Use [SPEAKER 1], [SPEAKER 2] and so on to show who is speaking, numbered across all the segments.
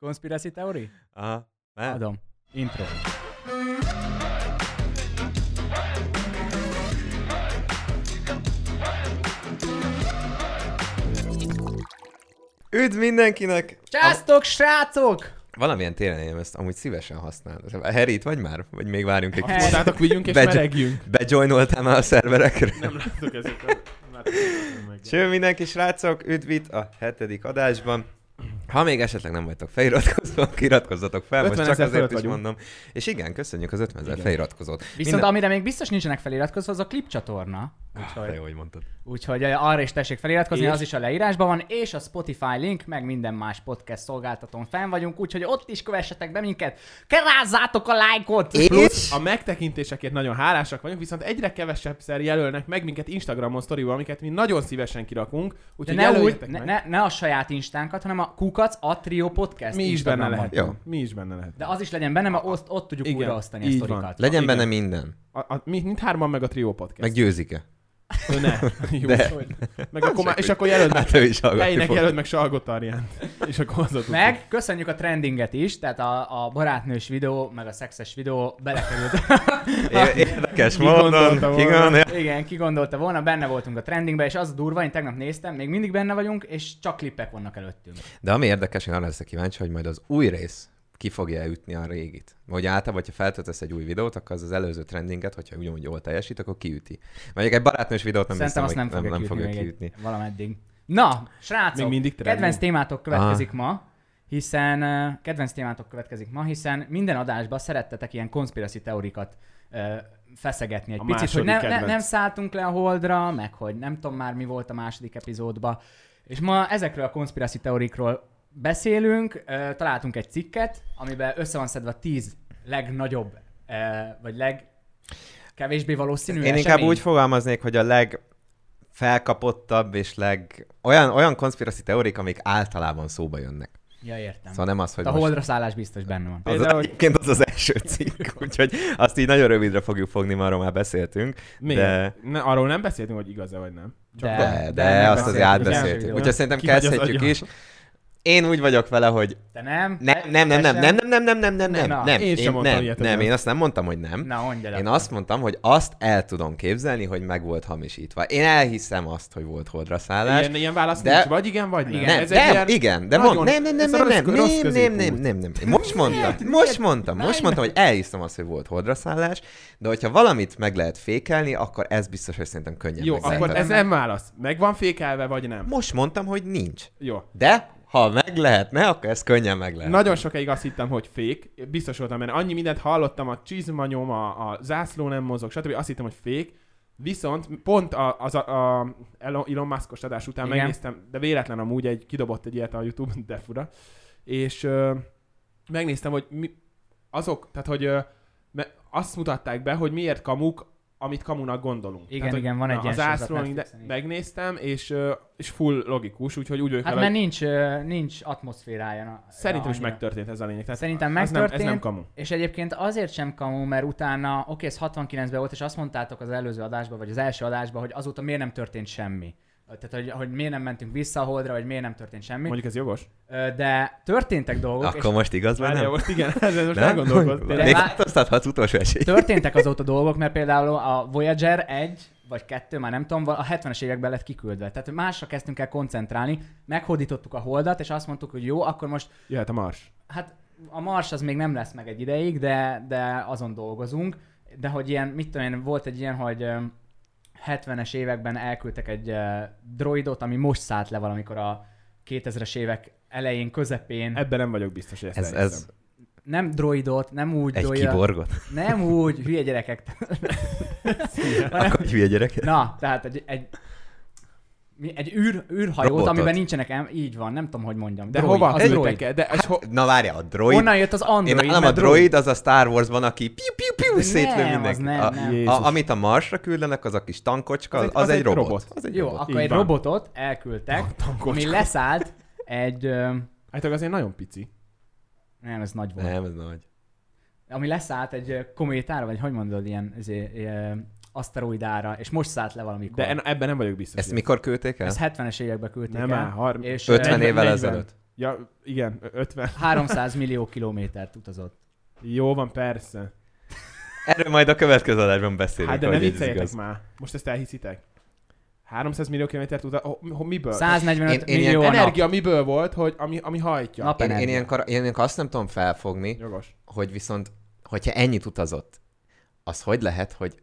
[SPEAKER 1] Conspiracy Theory?
[SPEAKER 2] Aha. Mert?
[SPEAKER 1] Adom. Intro.
[SPEAKER 2] Üdv mindenkinek!
[SPEAKER 1] Császtok, srácok!
[SPEAKER 2] Valamilyen téren én ezt amúgy szívesen használom. Harry, itt vagy már? Vagy még várjunk egy
[SPEAKER 1] Harry.
[SPEAKER 2] kicsit?
[SPEAKER 3] Mondtátok, vigyünk és
[SPEAKER 2] Begy-
[SPEAKER 3] melegjünk.
[SPEAKER 2] Bejoinoltál már a szerverekre?
[SPEAKER 3] Nem láttuk ezeket.
[SPEAKER 2] Cső mindenki srácok, üdv itt a hetedik adásban. Ha még esetleg nem vagytok feliratkozva, iratkozzatok fel, most
[SPEAKER 3] 50
[SPEAKER 2] csak
[SPEAKER 3] ezer
[SPEAKER 2] azért is
[SPEAKER 3] fölött vagyunk.
[SPEAKER 2] mondom. És igen, köszönjük az 50 ezer
[SPEAKER 3] Igen.
[SPEAKER 2] feliratkozót.
[SPEAKER 1] Viszont
[SPEAKER 2] Minden-
[SPEAKER 1] amire még biztos nincsenek feliratkozva, az a klipcsatorna.
[SPEAKER 2] Ah,
[SPEAKER 1] Úgyhogy,
[SPEAKER 2] Jó, hogy mondtad.
[SPEAKER 1] úgyhogy eh, arra is tessék feliratkozni,
[SPEAKER 3] És?
[SPEAKER 1] az is a leírásban van, és a Spotify link, meg minden más podcast szolgáltatón fenn vagyunk, úgyhogy ott is kövessetek be minket, kerázzátok a lájkot!
[SPEAKER 2] És?
[SPEAKER 3] A megtekintésekért nagyon hálásak vagyunk, viszont egyre kevesebb szer jelölnek meg minket Instagramon sztoriba, amiket mi nagyon szívesen kirakunk,
[SPEAKER 1] De
[SPEAKER 3] úgyhogy
[SPEAKER 1] ne, úgy,
[SPEAKER 3] jelöljetek
[SPEAKER 1] ne,
[SPEAKER 3] meg.
[SPEAKER 1] ne, ne, a saját instánkat, hanem a kukac a Trio Podcast
[SPEAKER 3] mi is benne
[SPEAKER 1] Instagramon.
[SPEAKER 3] lehet.
[SPEAKER 2] Jó.
[SPEAKER 3] Mi is benne lehet.
[SPEAKER 1] De az is legyen benne, mert ott, ott tudjuk
[SPEAKER 3] Igen,
[SPEAKER 1] újraosztani a
[SPEAKER 3] így
[SPEAKER 1] sztorikat.
[SPEAKER 2] Legyen
[SPEAKER 3] Igen.
[SPEAKER 2] benne minden.
[SPEAKER 3] A, a, mi, mindhárman meg a trió podcast.
[SPEAKER 2] Meg győzik-e?
[SPEAKER 3] Ö, ne. Jó,
[SPEAKER 2] De.
[SPEAKER 3] hogy- Meg akkor, má-
[SPEAKER 2] Csak
[SPEAKER 3] és akkor jelöld meg.
[SPEAKER 2] Hát ő is hallgatni
[SPEAKER 3] Helynek
[SPEAKER 2] fog.
[SPEAKER 3] jelöld meg Salgotarjánt. És akkor hozzá tudjuk.
[SPEAKER 1] Meg köszönjük a trendinget is, tehát a, a barátnős videó, meg a szexes videó belekerült.
[SPEAKER 2] É- Érdekes
[SPEAKER 3] Ki
[SPEAKER 2] módon.
[SPEAKER 3] gondolta volna?
[SPEAKER 2] Igen,
[SPEAKER 1] Igen, ki gondolta volna, benne voltunk a trendingbe, és az a durva, én tegnap néztem, még mindig benne vagyunk, és csak klippek vannak előttünk.
[SPEAKER 2] De ami érdekes, én arra leszek kíváncsi, hogy majd az új rész ki fogja ütni a régit. Vagy általában, hogyha feltöltesz egy új videót, akkor az az előző trendinget, hogyha ugyanúgy jól teljesít, akkor kiüti. Mondjuk egy barátnős videót nem
[SPEAKER 1] Nem Szerintem azt
[SPEAKER 2] hiszem,
[SPEAKER 1] nem,
[SPEAKER 2] hogy
[SPEAKER 1] fogja
[SPEAKER 2] nem, nem fogja
[SPEAKER 1] még egy-
[SPEAKER 2] kiütni.
[SPEAKER 1] Valameddig. Na,
[SPEAKER 3] Még
[SPEAKER 1] srácok,
[SPEAKER 3] mindig trending.
[SPEAKER 1] kedvenc témátok következik ma, hiszen eh, kedvenc témátok következik ma, hiszen minden adásban szerettetek ilyen konspiracy teórikat eh, feszegetni egy
[SPEAKER 3] A
[SPEAKER 1] picit, hogy
[SPEAKER 3] második
[SPEAKER 1] ne, ne,
[SPEAKER 3] kedvenc.
[SPEAKER 1] nem szálltunk le a holdra, meg hogy nem tudom már mi volt a második epizódba. És ma ezekről a konspiracy teórikról beszélünk, eh, találtunk egy cikket, amiben össze van szedve a tíz legnagyobb, eh, vagy leg kevésbé valószínű
[SPEAKER 2] Én inkább
[SPEAKER 1] esemény.
[SPEAKER 2] úgy fogalmaznék, hogy a leg felkapottabb és leg... Olyan, olyan konspiracy teórik, amik általában szóba jönnek.
[SPEAKER 1] Ja, értem.
[SPEAKER 2] Szóval nem az, hogy
[SPEAKER 1] a
[SPEAKER 2] most...
[SPEAKER 1] holdra szállás biztos benne van.
[SPEAKER 2] Az,
[SPEAKER 3] Például-
[SPEAKER 2] egyébként az az első cikk, úgyhogy azt így nagyon rövidre fogjuk fogni, mert arról már beszéltünk.
[SPEAKER 3] Mi?
[SPEAKER 2] De-
[SPEAKER 3] Ne, arról nem beszéltünk, hogy igaz-e vagy nem.
[SPEAKER 1] De-
[SPEAKER 2] De, de,
[SPEAKER 1] de
[SPEAKER 2] azt
[SPEAKER 1] megbeszéltük.
[SPEAKER 2] azért átbeszéltük.
[SPEAKER 1] Igen.
[SPEAKER 2] Úgyhogy szerintem
[SPEAKER 3] Kihagy az
[SPEAKER 2] kezdhetjük
[SPEAKER 3] agyam.
[SPEAKER 2] is. Én úgy vagyok vele, hogy
[SPEAKER 1] Te nem?
[SPEAKER 2] Nem, nem, nem, nem, nem, nem, nem, nem, nem, nem, nem,
[SPEAKER 1] Na,
[SPEAKER 2] nem,
[SPEAKER 3] én sem
[SPEAKER 2] én,
[SPEAKER 3] mondtam
[SPEAKER 2] nem,
[SPEAKER 3] ilyet, hogy
[SPEAKER 2] nem,
[SPEAKER 3] nem.
[SPEAKER 2] én azt nem mondtam, hogy nem.
[SPEAKER 1] Na, mondja le.
[SPEAKER 2] Én azt mondtam, hogy azt el tudom képzelni, hogy meg volt hamisítva. Én elhiszem azt, hogy volt holdraszállás.
[SPEAKER 3] Ilyen, ilyen válasz
[SPEAKER 2] De-
[SPEAKER 3] de... nincs, vagy igen, vagy nem.
[SPEAKER 1] Igen.
[SPEAKER 2] Nem,
[SPEAKER 3] Ez egy
[SPEAKER 2] nem,
[SPEAKER 3] ilyen
[SPEAKER 2] igen, de
[SPEAKER 3] nagyon-
[SPEAKER 2] mond, nem, nem, nem,
[SPEAKER 3] ez a
[SPEAKER 2] nem, nem,
[SPEAKER 3] rossz- rossz
[SPEAKER 2] nem, nem, nem,
[SPEAKER 3] középút.
[SPEAKER 2] nem, nem. Én most mondtam, most mondtam, most mondtam, hogy elhiszem azt, hogy volt holdraszállás, de hogyha valamit meg lehet fékelni, akkor ez biztos, hogy szerintem könnyen
[SPEAKER 3] Jó,
[SPEAKER 2] megzehet.
[SPEAKER 3] akkor ez nem válasz. Meg van fékelve, vagy nem?
[SPEAKER 2] Most mondtam, hogy nincs.
[SPEAKER 3] Jó.
[SPEAKER 2] De ha meg lehetne, akkor ez könnyen meg lehet.
[SPEAKER 3] Nagyon sokáig azt hittem, hogy fék. Biztos voltam benne. Annyi mindent hallottam, a csizmanyom, a, a zászló nem mozog, stb. Azt hittem, hogy fék. Viszont pont a, az a, a Elon Elon Muskos adás után
[SPEAKER 1] Igen.
[SPEAKER 3] Igen. megnéztem, de véletlen amúgy egy kidobott egy ilyet a YouTube, de fura. És ö, megnéztem, hogy mi, azok, tehát hogy ö, me, azt mutatták be, hogy miért kamuk, amit kamunak gondolunk.
[SPEAKER 1] Igen,
[SPEAKER 3] tehát, hogy
[SPEAKER 1] igen, van egy
[SPEAKER 3] na,
[SPEAKER 1] ilyen
[SPEAKER 3] Az
[SPEAKER 1] sorozat
[SPEAKER 3] ászló, de
[SPEAKER 1] Netflixen is.
[SPEAKER 3] megnéztem, és, ö, és full logikus, úgyhogy úgy vagyok
[SPEAKER 1] Hát
[SPEAKER 3] vele,
[SPEAKER 1] mert nincs, ö, nincs atmoszférája. na-
[SPEAKER 3] Szerintem is
[SPEAKER 1] annyira.
[SPEAKER 3] megtörtént ez a lényeg. Tehát
[SPEAKER 1] Szerintem
[SPEAKER 3] az Nem, ez nem
[SPEAKER 1] megtörtént.
[SPEAKER 3] kamu.
[SPEAKER 1] És egyébként azért sem kamu, mert utána, oké, ez 69-ben volt, és azt mondtátok az előző adásban, vagy az első adásban, hogy azóta miért nem történt semmi. Tehát, hogy, hogy miért nem mentünk vissza a holdra, vagy miért nem történt semmi.
[SPEAKER 3] Mondjuk ez jogos?
[SPEAKER 1] Ö, De történtek dolgok,
[SPEAKER 2] Akkor most igaz vagy
[SPEAKER 3] Várjál,
[SPEAKER 2] nem?
[SPEAKER 3] most igen, ez most
[SPEAKER 2] Nem?
[SPEAKER 3] elgondolkodtam.
[SPEAKER 2] Még
[SPEAKER 1] Vá-
[SPEAKER 2] változtathatsz utolsó esély.
[SPEAKER 1] és történtek azóta dolgok, mert például a Voyager 1, vagy 2, már nem tudom, val- a 70-es években lett kiküldve. Tehát másra kezdtünk el koncentrálni, meghódítottuk a holdat, és azt mondtuk, hogy jó, akkor most
[SPEAKER 3] Jöhet a mars.
[SPEAKER 1] Hát a Mars az még nem lesz meg egy ideig, de, de azon dolgozunk. De hogy ilyen, mit tudom én, volt egy ilyen, hogy ö, 70-es években elküldtek egy ö, droidot, ami most szállt le valamikor a 2000-es évek elején, közepén.
[SPEAKER 3] Ebben nem vagyok biztos, hogy ezt
[SPEAKER 2] Ez, ez
[SPEAKER 3] elhiszem.
[SPEAKER 1] nem droidot, nem úgy
[SPEAKER 2] egy
[SPEAKER 1] droidot.
[SPEAKER 2] kiborgot?
[SPEAKER 1] Nem úgy, hülye gyerekek. Hanem-
[SPEAKER 2] Akkor egy hülye gyerek?
[SPEAKER 1] Na, tehát egy, egy, mi- egy űr, űrhajót,
[SPEAKER 2] Robotot.
[SPEAKER 1] amiben nincsenek, em- így van, nem tudom, hogy mondjam.
[SPEAKER 3] De
[SPEAKER 1] Droid,
[SPEAKER 3] hova
[SPEAKER 1] az droid.
[SPEAKER 3] küldtek el? De és ho...
[SPEAKER 2] Na várja, a droid.
[SPEAKER 1] Onnan jött az
[SPEAKER 2] Én
[SPEAKER 1] android.
[SPEAKER 2] nálam a
[SPEAKER 1] mert
[SPEAKER 2] droid, az a Star Warsban, aki piu piu
[SPEAKER 1] De
[SPEAKER 2] piu szétlő
[SPEAKER 1] nem,
[SPEAKER 2] mindenki.
[SPEAKER 1] az nem,
[SPEAKER 2] a,
[SPEAKER 1] nem.
[SPEAKER 2] A,
[SPEAKER 3] Jézus.
[SPEAKER 2] amit a Marsra küldenek, az a kis tankocska, az,
[SPEAKER 3] Az
[SPEAKER 2] az,
[SPEAKER 3] egy-
[SPEAKER 2] egy, robot. Az egy
[SPEAKER 1] Jó,
[SPEAKER 2] robot.
[SPEAKER 1] akkor
[SPEAKER 3] Így
[SPEAKER 1] egy
[SPEAKER 3] van.
[SPEAKER 1] robotot elküldtek,
[SPEAKER 3] Tankocska.
[SPEAKER 1] ami leszállt egy... Ö,
[SPEAKER 3] Hát azért nagyon pici.
[SPEAKER 1] nem, ez nagy volt.
[SPEAKER 2] Nem, ez nagy.
[SPEAKER 1] Ami leszállt egy ö, kométára, vagy hogy mondod, ilyen izé, ö, aszteroidára, és most szállt le valamikor.
[SPEAKER 3] De en, ebben nem vagyok biztos.
[SPEAKER 2] Ezt
[SPEAKER 3] hogy
[SPEAKER 2] mikor küldték el?
[SPEAKER 1] Ez 70-es években küldték
[SPEAKER 3] Nem
[SPEAKER 1] el.
[SPEAKER 3] áll, 30.
[SPEAKER 1] És,
[SPEAKER 2] 50
[SPEAKER 1] ö,
[SPEAKER 2] évvel
[SPEAKER 3] 40.
[SPEAKER 2] ezelőtt.
[SPEAKER 3] Ja, igen, ö- 50.
[SPEAKER 1] 300 millió kilométert utazott.
[SPEAKER 3] Jó van, persze.
[SPEAKER 2] Erről majd a következő adásban beszélünk.
[SPEAKER 3] Hát de ne
[SPEAKER 2] hogy ez
[SPEAKER 3] vicceljetek
[SPEAKER 2] igaz.
[SPEAKER 3] már. Most ezt elhiszitek. 300 millió kilométert után, oh, ho- miből?
[SPEAKER 1] 145
[SPEAKER 2] Én- én ilyen
[SPEAKER 1] millió a nap.
[SPEAKER 3] Energia miből volt, hogy ami, ami hajtja?
[SPEAKER 1] Nap-
[SPEAKER 2] Én, én,
[SPEAKER 1] Energia.
[SPEAKER 2] ilyenkor, én ilyenkor azt nem tudom felfogni,
[SPEAKER 3] Jogos.
[SPEAKER 2] hogy viszont, hogyha ennyit utazott, az hogy lehet, hogy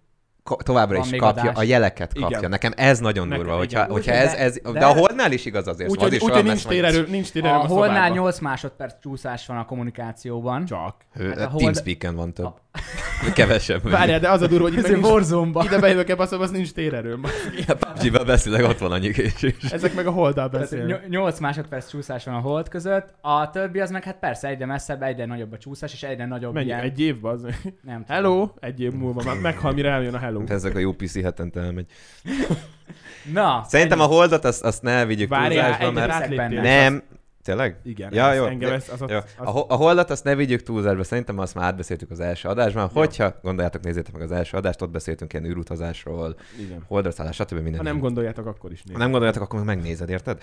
[SPEAKER 2] ko- továbbra
[SPEAKER 1] Van
[SPEAKER 2] is
[SPEAKER 1] még
[SPEAKER 2] kapja,
[SPEAKER 1] adás.
[SPEAKER 2] a jeleket
[SPEAKER 3] Igen.
[SPEAKER 2] kapja. Nekem ez nagyon
[SPEAKER 3] Nekem
[SPEAKER 2] durva, hogyha,
[SPEAKER 3] igen.
[SPEAKER 2] hogyha
[SPEAKER 1] Úgy,
[SPEAKER 2] ez,
[SPEAKER 1] de-
[SPEAKER 2] ez, de,
[SPEAKER 1] de-
[SPEAKER 2] a holdnál is igaz azért, az
[SPEAKER 3] Úgyhogy
[SPEAKER 2] is
[SPEAKER 3] úgy,
[SPEAKER 2] olyan
[SPEAKER 3] hogy nincs
[SPEAKER 2] messze, hogy-
[SPEAKER 3] térerő, nincs
[SPEAKER 1] A
[SPEAKER 3] térerő a,
[SPEAKER 1] holnál
[SPEAKER 3] szobában. 8...
[SPEAKER 1] 8 másodperc csúszás van a kommunikációban.
[SPEAKER 3] Csak.
[SPEAKER 2] Hő, eh,
[SPEAKER 1] Hát a hold-
[SPEAKER 2] Teamspeak-en van több. Kevesebb.
[SPEAKER 3] Várjál, de az a durva, hogy itt
[SPEAKER 1] Ez
[SPEAKER 3] meg
[SPEAKER 1] egy
[SPEAKER 3] nincs,
[SPEAKER 1] borzomba.
[SPEAKER 3] ide bejövök ebbe a szobába, az nincs térerőm.
[SPEAKER 2] A PUBG-ben beszélek, ott van annyi is.
[SPEAKER 3] Ezek meg a holdal beszélnek.
[SPEAKER 1] 8 másodperc csúszás van a hold között, a többi az meg hát persze egyre messzebb, egyre nagyobb a csúszás, és egyre nagyobb
[SPEAKER 3] Mennyi?
[SPEAKER 1] ilyen.
[SPEAKER 3] Egy év az.
[SPEAKER 1] Nem tudom.
[SPEAKER 3] Hello? Egy év múlva már meghal, mire eljön a hello.
[SPEAKER 2] Ezek a UPC hetente elmegy.
[SPEAKER 1] Na,
[SPEAKER 2] Szerintem a holdat azt, azt ne vigyük
[SPEAKER 3] Várjál,
[SPEAKER 2] túlzásba,
[SPEAKER 3] egyet
[SPEAKER 2] mert...
[SPEAKER 1] rá-
[SPEAKER 3] átléptél.
[SPEAKER 2] Nem. Tényleg?
[SPEAKER 3] Igen,
[SPEAKER 2] Ja,
[SPEAKER 3] ja,
[SPEAKER 2] jó.
[SPEAKER 3] jó. engem ez, az, az,
[SPEAKER 2] Jó.
[SPEAKER 3] az,
[SPEAKER 2] A, ho- a holdat azt ne vigyük túlzásba, szerintem azt már átbeszéltük az első adásban. Hogyha gondoljátok, nézzétek meg az első adást, ott beszéltünk ilyen űrutazásról,
[SPEAKER 3] igen.
[SPEAKER 2] holdraszállás, stb. minden.
[SPEAKER 3] Ha nem gondoljátok, akkor is
[SPEAKER 2] Ha
[SPEAKER 3] nézd.
[SPEAKER 2] nem gondoljátok, akkor meg megnézed, érted?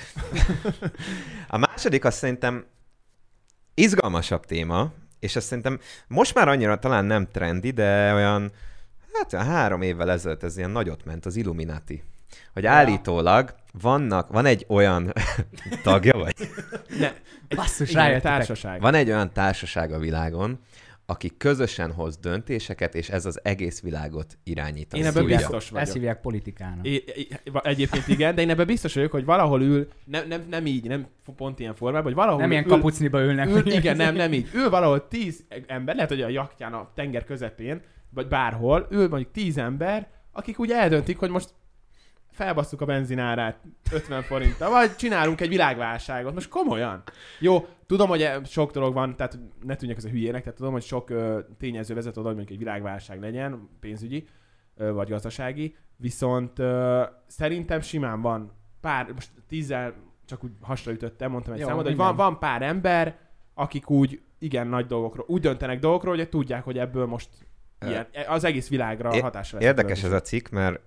[SPEAKER 2] A második azt szerintem izgalmasabb téma, és azt szerintem most már annyira talán nem trendi, de olyan, hát olyan három évvel ezelőtt ez ilyen nagyot ment, az Illuminati. Hogy
[SPEAKER 1] Ja.
[SPEAKER 2] állítólag vannak, van egy olyan tagja, vagy
[SPEAKER 1] basszus,
[SPEAKER 3] Igen, a
[SPEAKER 1] rájöttetek.
[SPEAKER 3] társaság.
[SPEAKER 2] van egy olyan társaság a világon, aki közösen hoz döntéseket, és ez az egész világot irányít.
[SPEAKER 3] Én
[SPEAKER 2] az
[SPEAKER 3] ebben
[SPEAKER 2] újra.
[SPEAKER 3] biztos vagyok.
[SPEAKER 1] Ezt hívják politikának.
[SPEAKER 3] É, é- va- egyébként igen, de én ebben biztos vagyok, hogy valahol ül, nem, nem, nem így, nem f- pont ilyen formában, hogy valahol
[SPEAKER 1] Nem ilyen
[SPEAKER 3] ül,
[SPEAKER 1] kapucniba ülnek.
[SPEAKER 3] ül, igen, nem, nem így. Ül valahol tíz ember, lehet, hogy a jaktján, a tenger közepén, vagy bárhol, ül mondjuk tíz ember, akik úgy eldöntik, hogy most felbasszuk a benzinárát 50 forinttal, vagy csinálunk egy világválságot. Most komolyan. Jó, tudom, hogy e- sok dolog van, tehát ne tűnjek ez a hülyének, tehát tudom, hogy sok ö, tényező vezet oda, hogy mondjuk egy világválság legyen, pénzügyi, ö, vagy gazdasági, viszont ö, szerintem simán van pár, most tízzel csak úgy hasra ütöttem, mondtam egy
[SPEAKER 1] Jó,
[SPEAKER 3] számot, hogy
[SPEAKER 1] minden.
[SPEAKER 3] van, van pár ember, akik úgy igen nagy dolgokról, úgy döntenek dolgokról, hogy tudják, hogy ebből most
[SPEAKER 2] Ö,
[SPEAKER 3] ilyen, e, az egész világra
[SPEAKER 2] é-
[SPEAKER 3] hatással lesz.
[SPEAKER 2] Érdekes ez a cikk, mert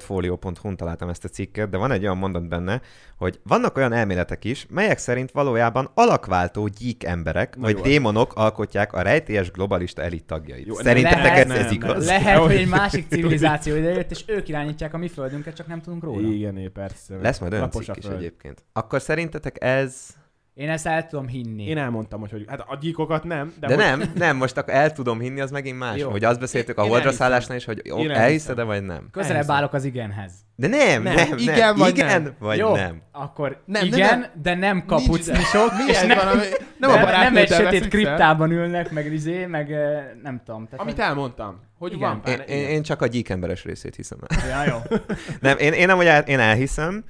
[SPEAKER 2] portfolio.hu-n találtam ezt a cikket, de van egy olyan mondat benne, hogy vannak olyan elméletek is, melyek szerint valójában alakváltó gyík emberek,
[SPEAKER 3] Na
[SPEAKER 2] vagy
[SPEAKER 3] jó.
[SPEAKER 2] démonok alkotják a rejtélyes globalista elit tagjait.
[SPEAKER 3] Jó, nem,
[SPEAKER 2] Szerintetek
[SPEAKER 1] nem,
[SPEAKER 2] ez,
[SPEAKER 3] nem,
[SPEAKER 2] ez
[SPEAKER 3] nem.
[SPEAKER 2] igaz?
[SPEAKER 1] Lehet, hogy egy
[SPEAKER 3] Hogy-
[SPEAKER 1] másik civilizáció idejött, és ők irányítják a mi földünket, csak nem tudunk róla.
[SPEAKER 3] Igen, é, persze.
[SPEAKER 2] Lesz majd olyan
[SPEAKER 3] Lapos a
[SPEAKER 2] cikk is
[SPEAKER 3] föld.
[SPEAKER 2] egyébként. Akkor szerintetek ez...
[SPEAKER 1] Én ezt el tudom hinni.
[SPEAKER 3] Én elmondtam, hogy, hogy hát a gyíkokat nem, de,
[SPEAKER 2] De,
[SPEAKER 3] hogy,
[SPEAKER 2] nem, nem, most akkor el tudom hinni, az megint más.
[SPEAKER 3] Jó.
[SPEAKER 2] Hogy azt beszéltük a
[SPEAKER 3] Én
[SPEAKER 2] holdra
[SPEAKER 3] elhiszem.
[SPEAKER 2] szállásnál is, hogy
[SPEAKER 3] Én
[SPEAKER 2] ó,
[SPEAKER 3] elhiszem.
[SPEAKER 2] elhiszed-e vagy nem?
[SPEAKER 1] Közelebb
[SPEAKER 3] Elhiszem.
[SPEAKER 1] állok az igenhez.
[SPEAKER 2] De nem,
[SPEAKER 3] Nem.
[SPEAKER 2] nem, nem.
[SPEAKER 3] Igen vagy
[SPEAKER 2] igen
[SPEAKER 3] nem?
[SPEAKER 2] Vagy
[SPEAKER 1] Jó,
[SPEAKER 2] nem.
[SPEAKER 1] akkor
[SPEAKER 3] Nem,
[SPEAKER 1] nem,
[SPEAKER 3] nem,
[SPEAKER 1] igen,
[SPEAKER 3] nem.
[SPEAKER 1] de nem
[SPEAKER 3] Nincs ide.
[SPEAKER 1] kapucnisok,
[SPEAKER 3] Mi
[SPEAKER 1] és
[SPEAKER 3] ez
[SPEAKER 1] nem,
[SPEAKER 3] van, ami-
[SPEAKER 1] nem,
[SPEAKER 3] nem a
[SPEAKER 1] nem
[SPEAKER 3] barátnőddel
[SPEAKER 1] egy sötét
[SPEAKER 3] veszünk fel?
[SPEAKER 1] kriptában ülnek, meg izé, meg eh, nem tudom. Tehát
[SPEAKER 3] Amit elmondtam, hogy
[SPEAKER 1] Igen.
[SPEAKER 3] van
[SPEAKER 2] Én,
[SPEAKER 3] pár.
[SPEAKER 2] én, én csak a gyík emberes részét hiszem el.
[SPEAKER 1] Ja, jó.
[SPEAKER 2] Nem, én, én amúgy el, én elhiszem,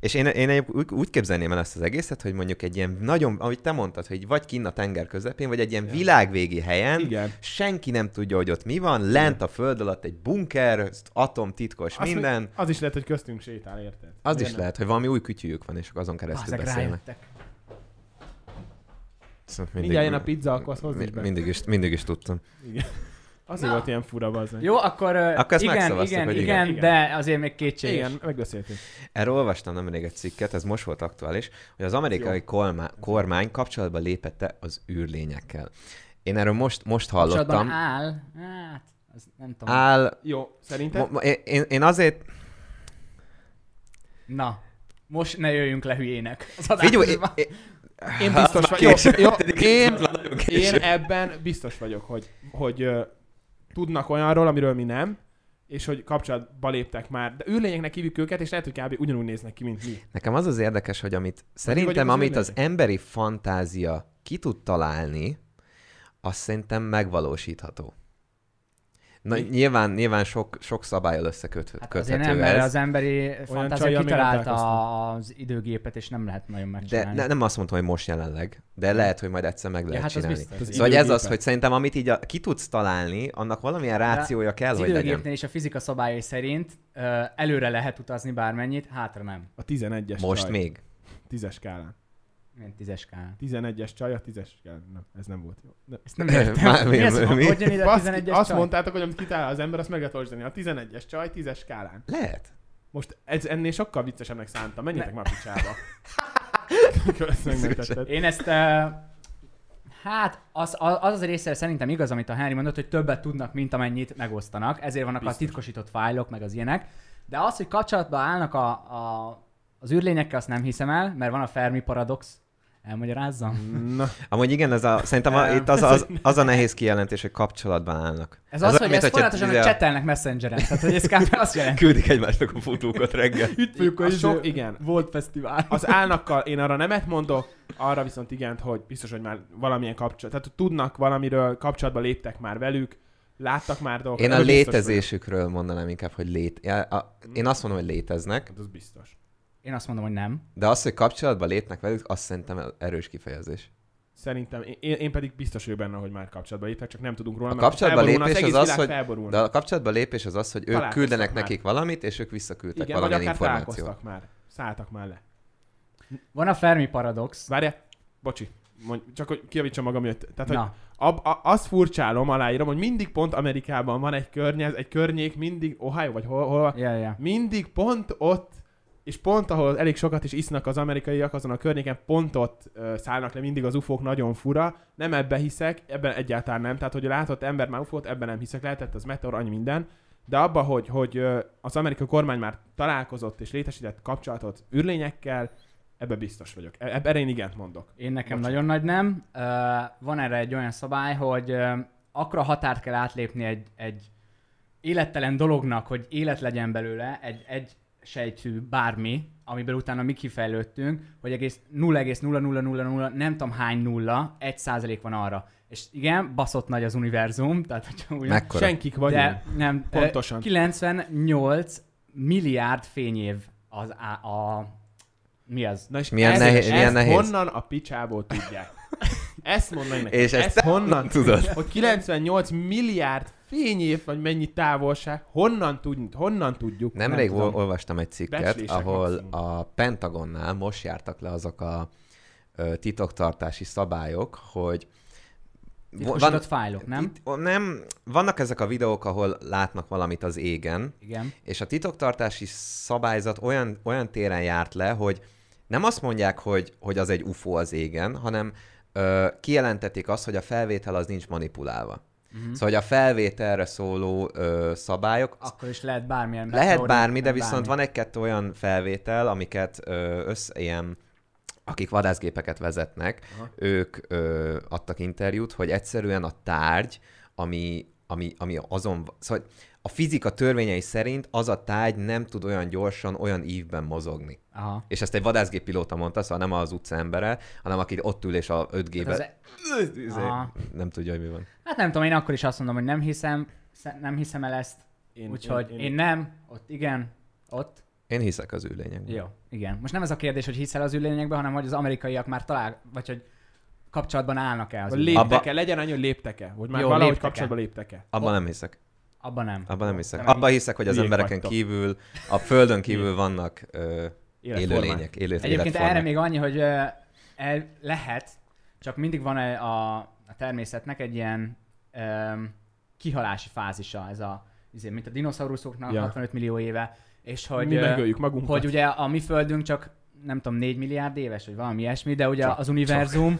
[SPEAKER 2] és én, én egyéb- úgy, úgy képzelném el ezt az egészet, hogy mondjuk egy ilyen nagyon, ahogy te mondtad, hogy vagy kinn a tenger közepén, vagy egy ilyen világvégi helyen,
[SPEAKER 3] Igen.
[SPEAKER 2] senki nem tudja, hogy ott mi van, lent a föld alatt egy bunker, atomtitkos
[SPEAKER 3] Azt
[SPEAKER 2] minden.
[SPEAKER 3] még- Az is lehet, hogy köztünk sétál, érted?
[SPEAKER 2] Az
[SPEAKER 3] Miért
[SPEAKER 2] is
[SPEAKER 3] nem?
[SPEAKER 2] lehet, hogy valami új kütyűjük van, és akkor azon keresztül
[SPEAKER 1] Ezek
[SPEAKER 2] beszélnek.
[SPEAKER 1] rájöttek.
[SPEAKER 2] Szóval
[SPEAKER 3] Mindjárt jön a pizza, akkor azt hozd is
[SPEAKER 2] mi-
[SPEAKER 3] be.
[SPEAKER 2] mindig is, mindig is tudtam.
[SPEAKER 3] Igen. Azért volt ilyen fura az.
[SPEAKER 1] Jó, akkor, eh,
[SPEAKER 2] Akkor ezt
[SPEAKER 1] igen,
[SPEAKER 2] megszavaztuk,
[SPEAKER 1] igen,
[SPEAKER 2] hogy
[SPEAKER 1] igen,
[SPEAKER 2] igen.
[SPEAKER 1] igen, de azért még kétséges.
[SPEAKER 3] Igen, megbeszéltünk.
[SPEAKER 2] Erről olvastam nemrég egy cikket, ez most volt aktuális, hogy az amerikai kolmá- kormány kapcsolatba lépette az űrlényekkel. Én erről most, most
[SPEAKER 1] Kapcsolatban
[SPEAKER 2] hallottam.
[SPEAKER 1] áll, hát, az nem tudom.
[SPEAKER 2] Áll.
[SPEAKER 3] Jó, szerintem?
[SPEAKER 2] Mo- mo- én- én, én azért
[SPEAKER 1] Na, most ne jöjjünk le hülyének. Az adásban.
[SPEAKER 2] Figyelj, én, én,
[SPEAKER 3] Én biztos
[SPEAKER 2] már
[SPEAKER 3] vagyok.
[SPEAKER 2] késő.
[SPEAKER 3] Jó, jó, én,
[SPEAKER 2] Nagyon késő.
[SPEAKER 3] én ebben biztos vagyok, hogy, hogy ö, tudnak olyanról, amiről mi nem, és hogy kapcsolatba léptek már. De űrlényeknek hívjuk őket, és lehet, hogy kb. ugyanúgy néznek ki, mint mi.
[SPEAKER 2] Nekem az az érdekes, hogy amit
[SPEAKER 3] vagyok
[SPEAKER 2] szerintem,
[SPEAKER 3] az
[SPEAKER 2] amit az
[SPEAKER 3] űrlények?
[SPEAKER 2] emberi fantázia ki tud találni, azt szerintem megvalósítható. Na,
[SPEAKER 3] Mi?
[SPEAKER 2] nyilván, nyilván sok, sok szabályal összeköthető
[SPEAKER 1] Hát azért nem,
[SPEAKER 2] ez.
[SPEAKER 1] mert az emberi
[SPEAKER 3] csajjal
[SPEAKER 1] fantázia
[SPEAKER 3] még nem találkoztam.
[SPEAKER 1] kitalálta az időgépet, és nem lehet nagyon
[SPEAKER 2] de
[SPEAKER 1] megcsinálni.
[SPEAKER 2] ne, nem azt mondom, hogy most jelenleg, de lehet, hogy majd egyszer meg lehet
[SPEAKER 1] hát az
[SPEAKER 2] csinálni.
[SPEAKER 1] biztos.
[SPEAKER 3] Az
[SPEAKER 2] Szóval hogy ez az,
[SPEAKER 3] időgépen.
[SPEAKER 2] hogy szerintem amit így a, ki tudsz találni, annak valamilyen rációja kell,
[SPEAKER 1] az
[SPEAKER 2] hogy legyen.
[SPEAKER 1] időgépnél és a fizika szabályai szerint ö, előre lehet utazni bármennyit, hátra nem.
[SPEAKER 3] A 11-es
[SPEAKER 2] Most
[SPEAKER 3] csaj.
[SPEAKER 2] még.
[SPEAKER 3] Tízes skálán.
[SPEAKER 1] Ilyen tízes skálán.
[SPEAKER 3] 11-es csaj, a 10-es skálán. Nem, ez nem volt jó. De...
[SPEAKER 1] Ezt nem értem.
[SPEAKER 2] Már mi-
[SPEAKER 1] mi ez,
[SPEAKER 2] mi?
[SPEAKER 1] Hogyan ide a
[SPEAKER 3] Baszki,
[SPEAKER 1] 11-es
[SPEAKER 3] azt
[SPEAKER 1] csaj?
[SPEAKER 3] mondtátok, hogy amit kitál az ember, azt meg lehet oldani. A 11-es csaj, 10-es skálán.
[SPEAKER 2] Lehet.
[SPEAKER 3] Most ez ennél sokkal viccesebbnek szántam. Menjetek már picsába. Köszönöm, megtetted.
[SPEAKER 1] Én ezt... Uh, hát az, az az a része szerintem igaz, amit a Henry mondott, hogy többet tudnak, mint amennyit megosztanak. Ezért vannak Biztos. a
[SPEAKER 3] Biztos.
[SPEAKER 1] titkosított fájlok, meg az ilyenek. De az, hogy kapcsolatban állnak a, a, az űrlényekkel, azt nem hiszem el, mert van a Fermi paradox. Elmagyarázzam?
[SPEAKER 3] Na,
[SPEAKER 2] Amúgy igen, ez a, szerintem a,
[SPEAKER 1] Em,
[SPEAKER 2] itt az, az, az, a nehéz kijelentés, hogy kapcsolatban állnak.
[SPEAKER 1] Ez az, hogy
[SPEAKER 2] mint
[SPEAKER 1] ezt
[SPEAKER 2] hogyha
[SPEAKER 1] folyamatosan
[SPEAKER 2] izé-
[SPEAKER 1] csetelnek messengeren. Tehát, hogy ez kb. azt jelenti.
[SPEAKER 2] Küldik egymásnak a fotókat reggel.
[SPEAKER 1] Üdvözlük
[SPEAKER 3] a sok, igen.
[SPEAKER 1] Volt fesztivál.
[SPEAKER 3] Az állnakkal én arra nemet mondok, arra viszont igent, hogy biztos, hogy már valamilyen kapcsolat, tehát hogy tudnak valamiről, kapcsolatba léptek már velük, láttak már dolgokat.
[SPEAKER 2] Én a
[SPEAKER 3] ebben biztos
[SPEAKER 2] létezésükről mondanám inkább, hogy lét... ja, a- Én azt mondom, hogy léteznek,
[SPEAKER 3] vagyok. Hát az biztos.
[SPEAKER 1] Én azt mondom, hogy nem.
[SPEAKER 2] de az, hogy kapcsolatba lépnek velük, azt szerintem erős kifejezés.
[SPEAKER 3] Szerintem, én, én pedig biztos vagyok benne, hogy már kapcsolatba léptek, csak nem tudunk róla,
[SPEAKER 2] A
[SPEAKER 3] mert ha
[SPEAKER 2] kapcsolatba
[SPEAKER 3] felborulna,
[SPEAKER 2] lépés
[SPEAKER 3] egész
[SPEAKER 2] az az,
[SPEAKER 3] világ
[SPEAKER 2] hogy-
[SPEAKER 3] felborulna.
[SPEAKER 2] De a kapcsolatba lépés az az, hogy ők
[SPEAKER 3] Találkoztak
[SPEAKER 2] küldenek
[SPEAKER 3] már.
[SPEAKER 2] nekik valamit, és ők visszaküldtek
[SPEAKER 3] Igen, vagy
[SPEAKER 2] valamilyen
[SPEAKER 3] akár
[SPEAKER 2] információt.
[SPEAKER 3] találkoztak már. Szálltak már le.
[SPEAKER 1] Van a Fermi paradox.
[SPEAKER 3] Várja, bocsi, mondj, csak hogy kijavítsam magam, jött. Tehát, hogy
[SPEAKER 1] Na,
[SPEAKER 3] ab, a, azt furcsálom, aláírom, hogy mindig pont Amerikában van egy környez, egy környék, mindig Ohio vagy hol, hol
[SPEAKER 1] ja, ja.
[SPEAKER 3] mindig pont ott, és pont ahol elég sokat is isznak az amerikaiak azon a környéken, pont ott ö, szállnak le mindig az ufók, nagyon fura. Nem ebbe hiszek, ebben egyáltalán nem. Tehát, hogy a látott ember már ufót, ebben nem hiszek, lehetett az meteor, annyi minden. De abba, hogy, hogy ö, az amerikai kormány már találkozott és létesített kapcsolatot űrlényekkel, ebbe biztos vagyok. E- Ebben én igent mondok.
[SPEAKER 1] Én nekem
[SPEAKER 3] Bocsánat.
[SPEAKER 1] nagyon nagy nem. Ö, van erre egy olyan szabály, hogy ö, akkora határt kell átlépni egy, egy élettelen dolognak, hogy élet legyen belőle, egy, egy sejtű bármi, amiből utána mi kifejlődtünk, hogy egész 0,0000 nem tudom hány nulla, egy százalék van arra. És igen, baszott nagy az univerzum, tehát hogyha úgy...
[SPEAKER 2] Mekkora?
[SPEAKER 3] Senkik vagyunk.
[SPEAKER 1] De nem, ö,
[SPEAKER 3] Pontosan.
[SPEAKER 1] 98 milliárd fényév az a, a mi az?
[SPEAKER 3] Na és
[SPEAKER 2] Milyen
[SPEAKER 3] ezt,
[SPEAKER 2] nehéz-
[SPEAKER 3] ezt
[SPEAKER 2] milyen nehéz.
[SPEAKER 3] honnan a picsából tudják? Ezt mondom nekem.
[SPEAKER 2] És ezt
[SPEAKER 3] ezt
[SPEAKER 2] te
[SPEAKER 3] honnan
[SPEAKER 2] tudod?
[SPEAKER 3] Hogy 98 milliárd fényév, vagy mennyi távolság, honnan, tud, honnan tudjuk?
[SPEAKER 2] Nemrég
[SPEAKER 3] Nem
[SPEAKER 2] ol-
[SPEAKER 3] tudom.
[SPEAKER 2] olvastam egy cikket,
[SPEAKER 3] Becslések
[SPEAKER 2] ahol
[SPEAKER 3] maximum.
[SPEAKER 2] a Pentagonnál most jártak le azok a ö, titoktartási szabályok, hogy
[SPEAKER 1] Itt van, fájlok, nem?
[SPEAKER 2] Itt, ó, nem, vannak ezek a videók, ahol látnak valamit az égen,
[SPEAKER 1] Igen.
[SPEAKER 2] és a titoktartási szabályzat olyan, olyan téren járt le, hogy nem azt mondják, hogy, hogy az egy UFO az égen, hanem ö, kijelentették azt, hogy a felvétel az nincs manipulálva. Mm-hmm.
[SPEAKER 3] Mhm.
[SPEAKER 2] Szóval, hogy a felvételre szóló ö, szabályok,
[SPEAKER 1] Akkor is lehet bármilyen.
[SPEAKER 2] lehet
[SPEAKER 1] meteorit,
[SPEAKER 2] bármi, de
[SPEAKER 1] meg
[SPEAKER 2] viszont van egy-kettő olyan felvétel, amiket ö, össz, ilyen, akik vadászgépeket vezetnek,
[SPEAKER 3] Aha.
[SPEAKER 2] ők ö, adtak interjút, hogy egyszerűen a tárgy, ami, ami, ami azon, szóval a fizika törvényei szerint az a tárgy nem tud olyan gyorsan, olyan ívben mozogni.
[SPEAKER 1] Aha.
[SPEAKER 2] És ezt egy vadászgéppilóta mondta, szóval nem az utca embere, hanem aki ott ül és a 5G-be...
[SPEAKER 1] Hát, az, Aha.
[SPEAKER 2] izé. Nem tudja, hogy mi van.
[SPEAKER 1] hát nem tudom, én akkor is azt mondom, hogy nem hiszem, sze- nem hiszem el ezt,
[SPEAKER 3] Én-
[SPEAKER 1] úgyhogy én, én, én nem, ott igen, ott.
[SPEAKER 2] Én hiszek az űrlényekben.
[SPEAKER 1] Jó. Igen. Most nem ez a kérdés, hogy hiszel az ülényekbe, hanem hogy az amerikaiak már talál, vagy hogy kapcsolatban állnak-e az
[SPEAKER 3] Vagy
[SPEAKER 1] ülények.
[SPEAKER 3] léptek-e, legyen annyi, hogy léptek-e, hogy már
[SPEAKER 1] Jó,
[SPEAKER 3] valahogy
[SPEAKER 1] léptek-e.
[SPEAKER 3] kapcsolatba léptek-e.
[SPEAKER 2] Abban nem hiszek.
[SPEAKER 1] Abban nem.
[SPEAKER 2] Abban nem hiszek.
[SPEAKER 1] Nem,
[SPEAKER 2] Abban hiszek, hogy az
[SPEAKER 3] hülyék
[SPEAKER 2] embereken
[SPEAKER 3] vagytok.
[SPEAKER 2] kívül, a földön kívül vannak ö,
[SPEAKER 3] Életformák.
[SPEAKER 2] élőlények, élő
[SPEAKER 1] Egyébként
[SPEAKER 2] életformák.
[SPEAKER 1] erre még annyi, hogy ö, el, lehet, csak mindig van a, a természetnek egy ilyen um, kihalási fázisa, ez a, izé, mint a dinoszauruszoknak
[SPEAKER 3] Ja.
[SPEAKER 1] ja. 65 millió éve, és hogy,
[SPEAKER 3] Hogy mi
[SPEAKER 1] ö,
[SPEAKER 3] megöljük magunkat.
[SPEAKER 1] hogy ugye a mi földünk csak nem tudom, 4 milliárd éves, vagy valami ilyesmi, de ugye
[SPEAKER 2] Csak-
[SPEAKER 1] az univerzum,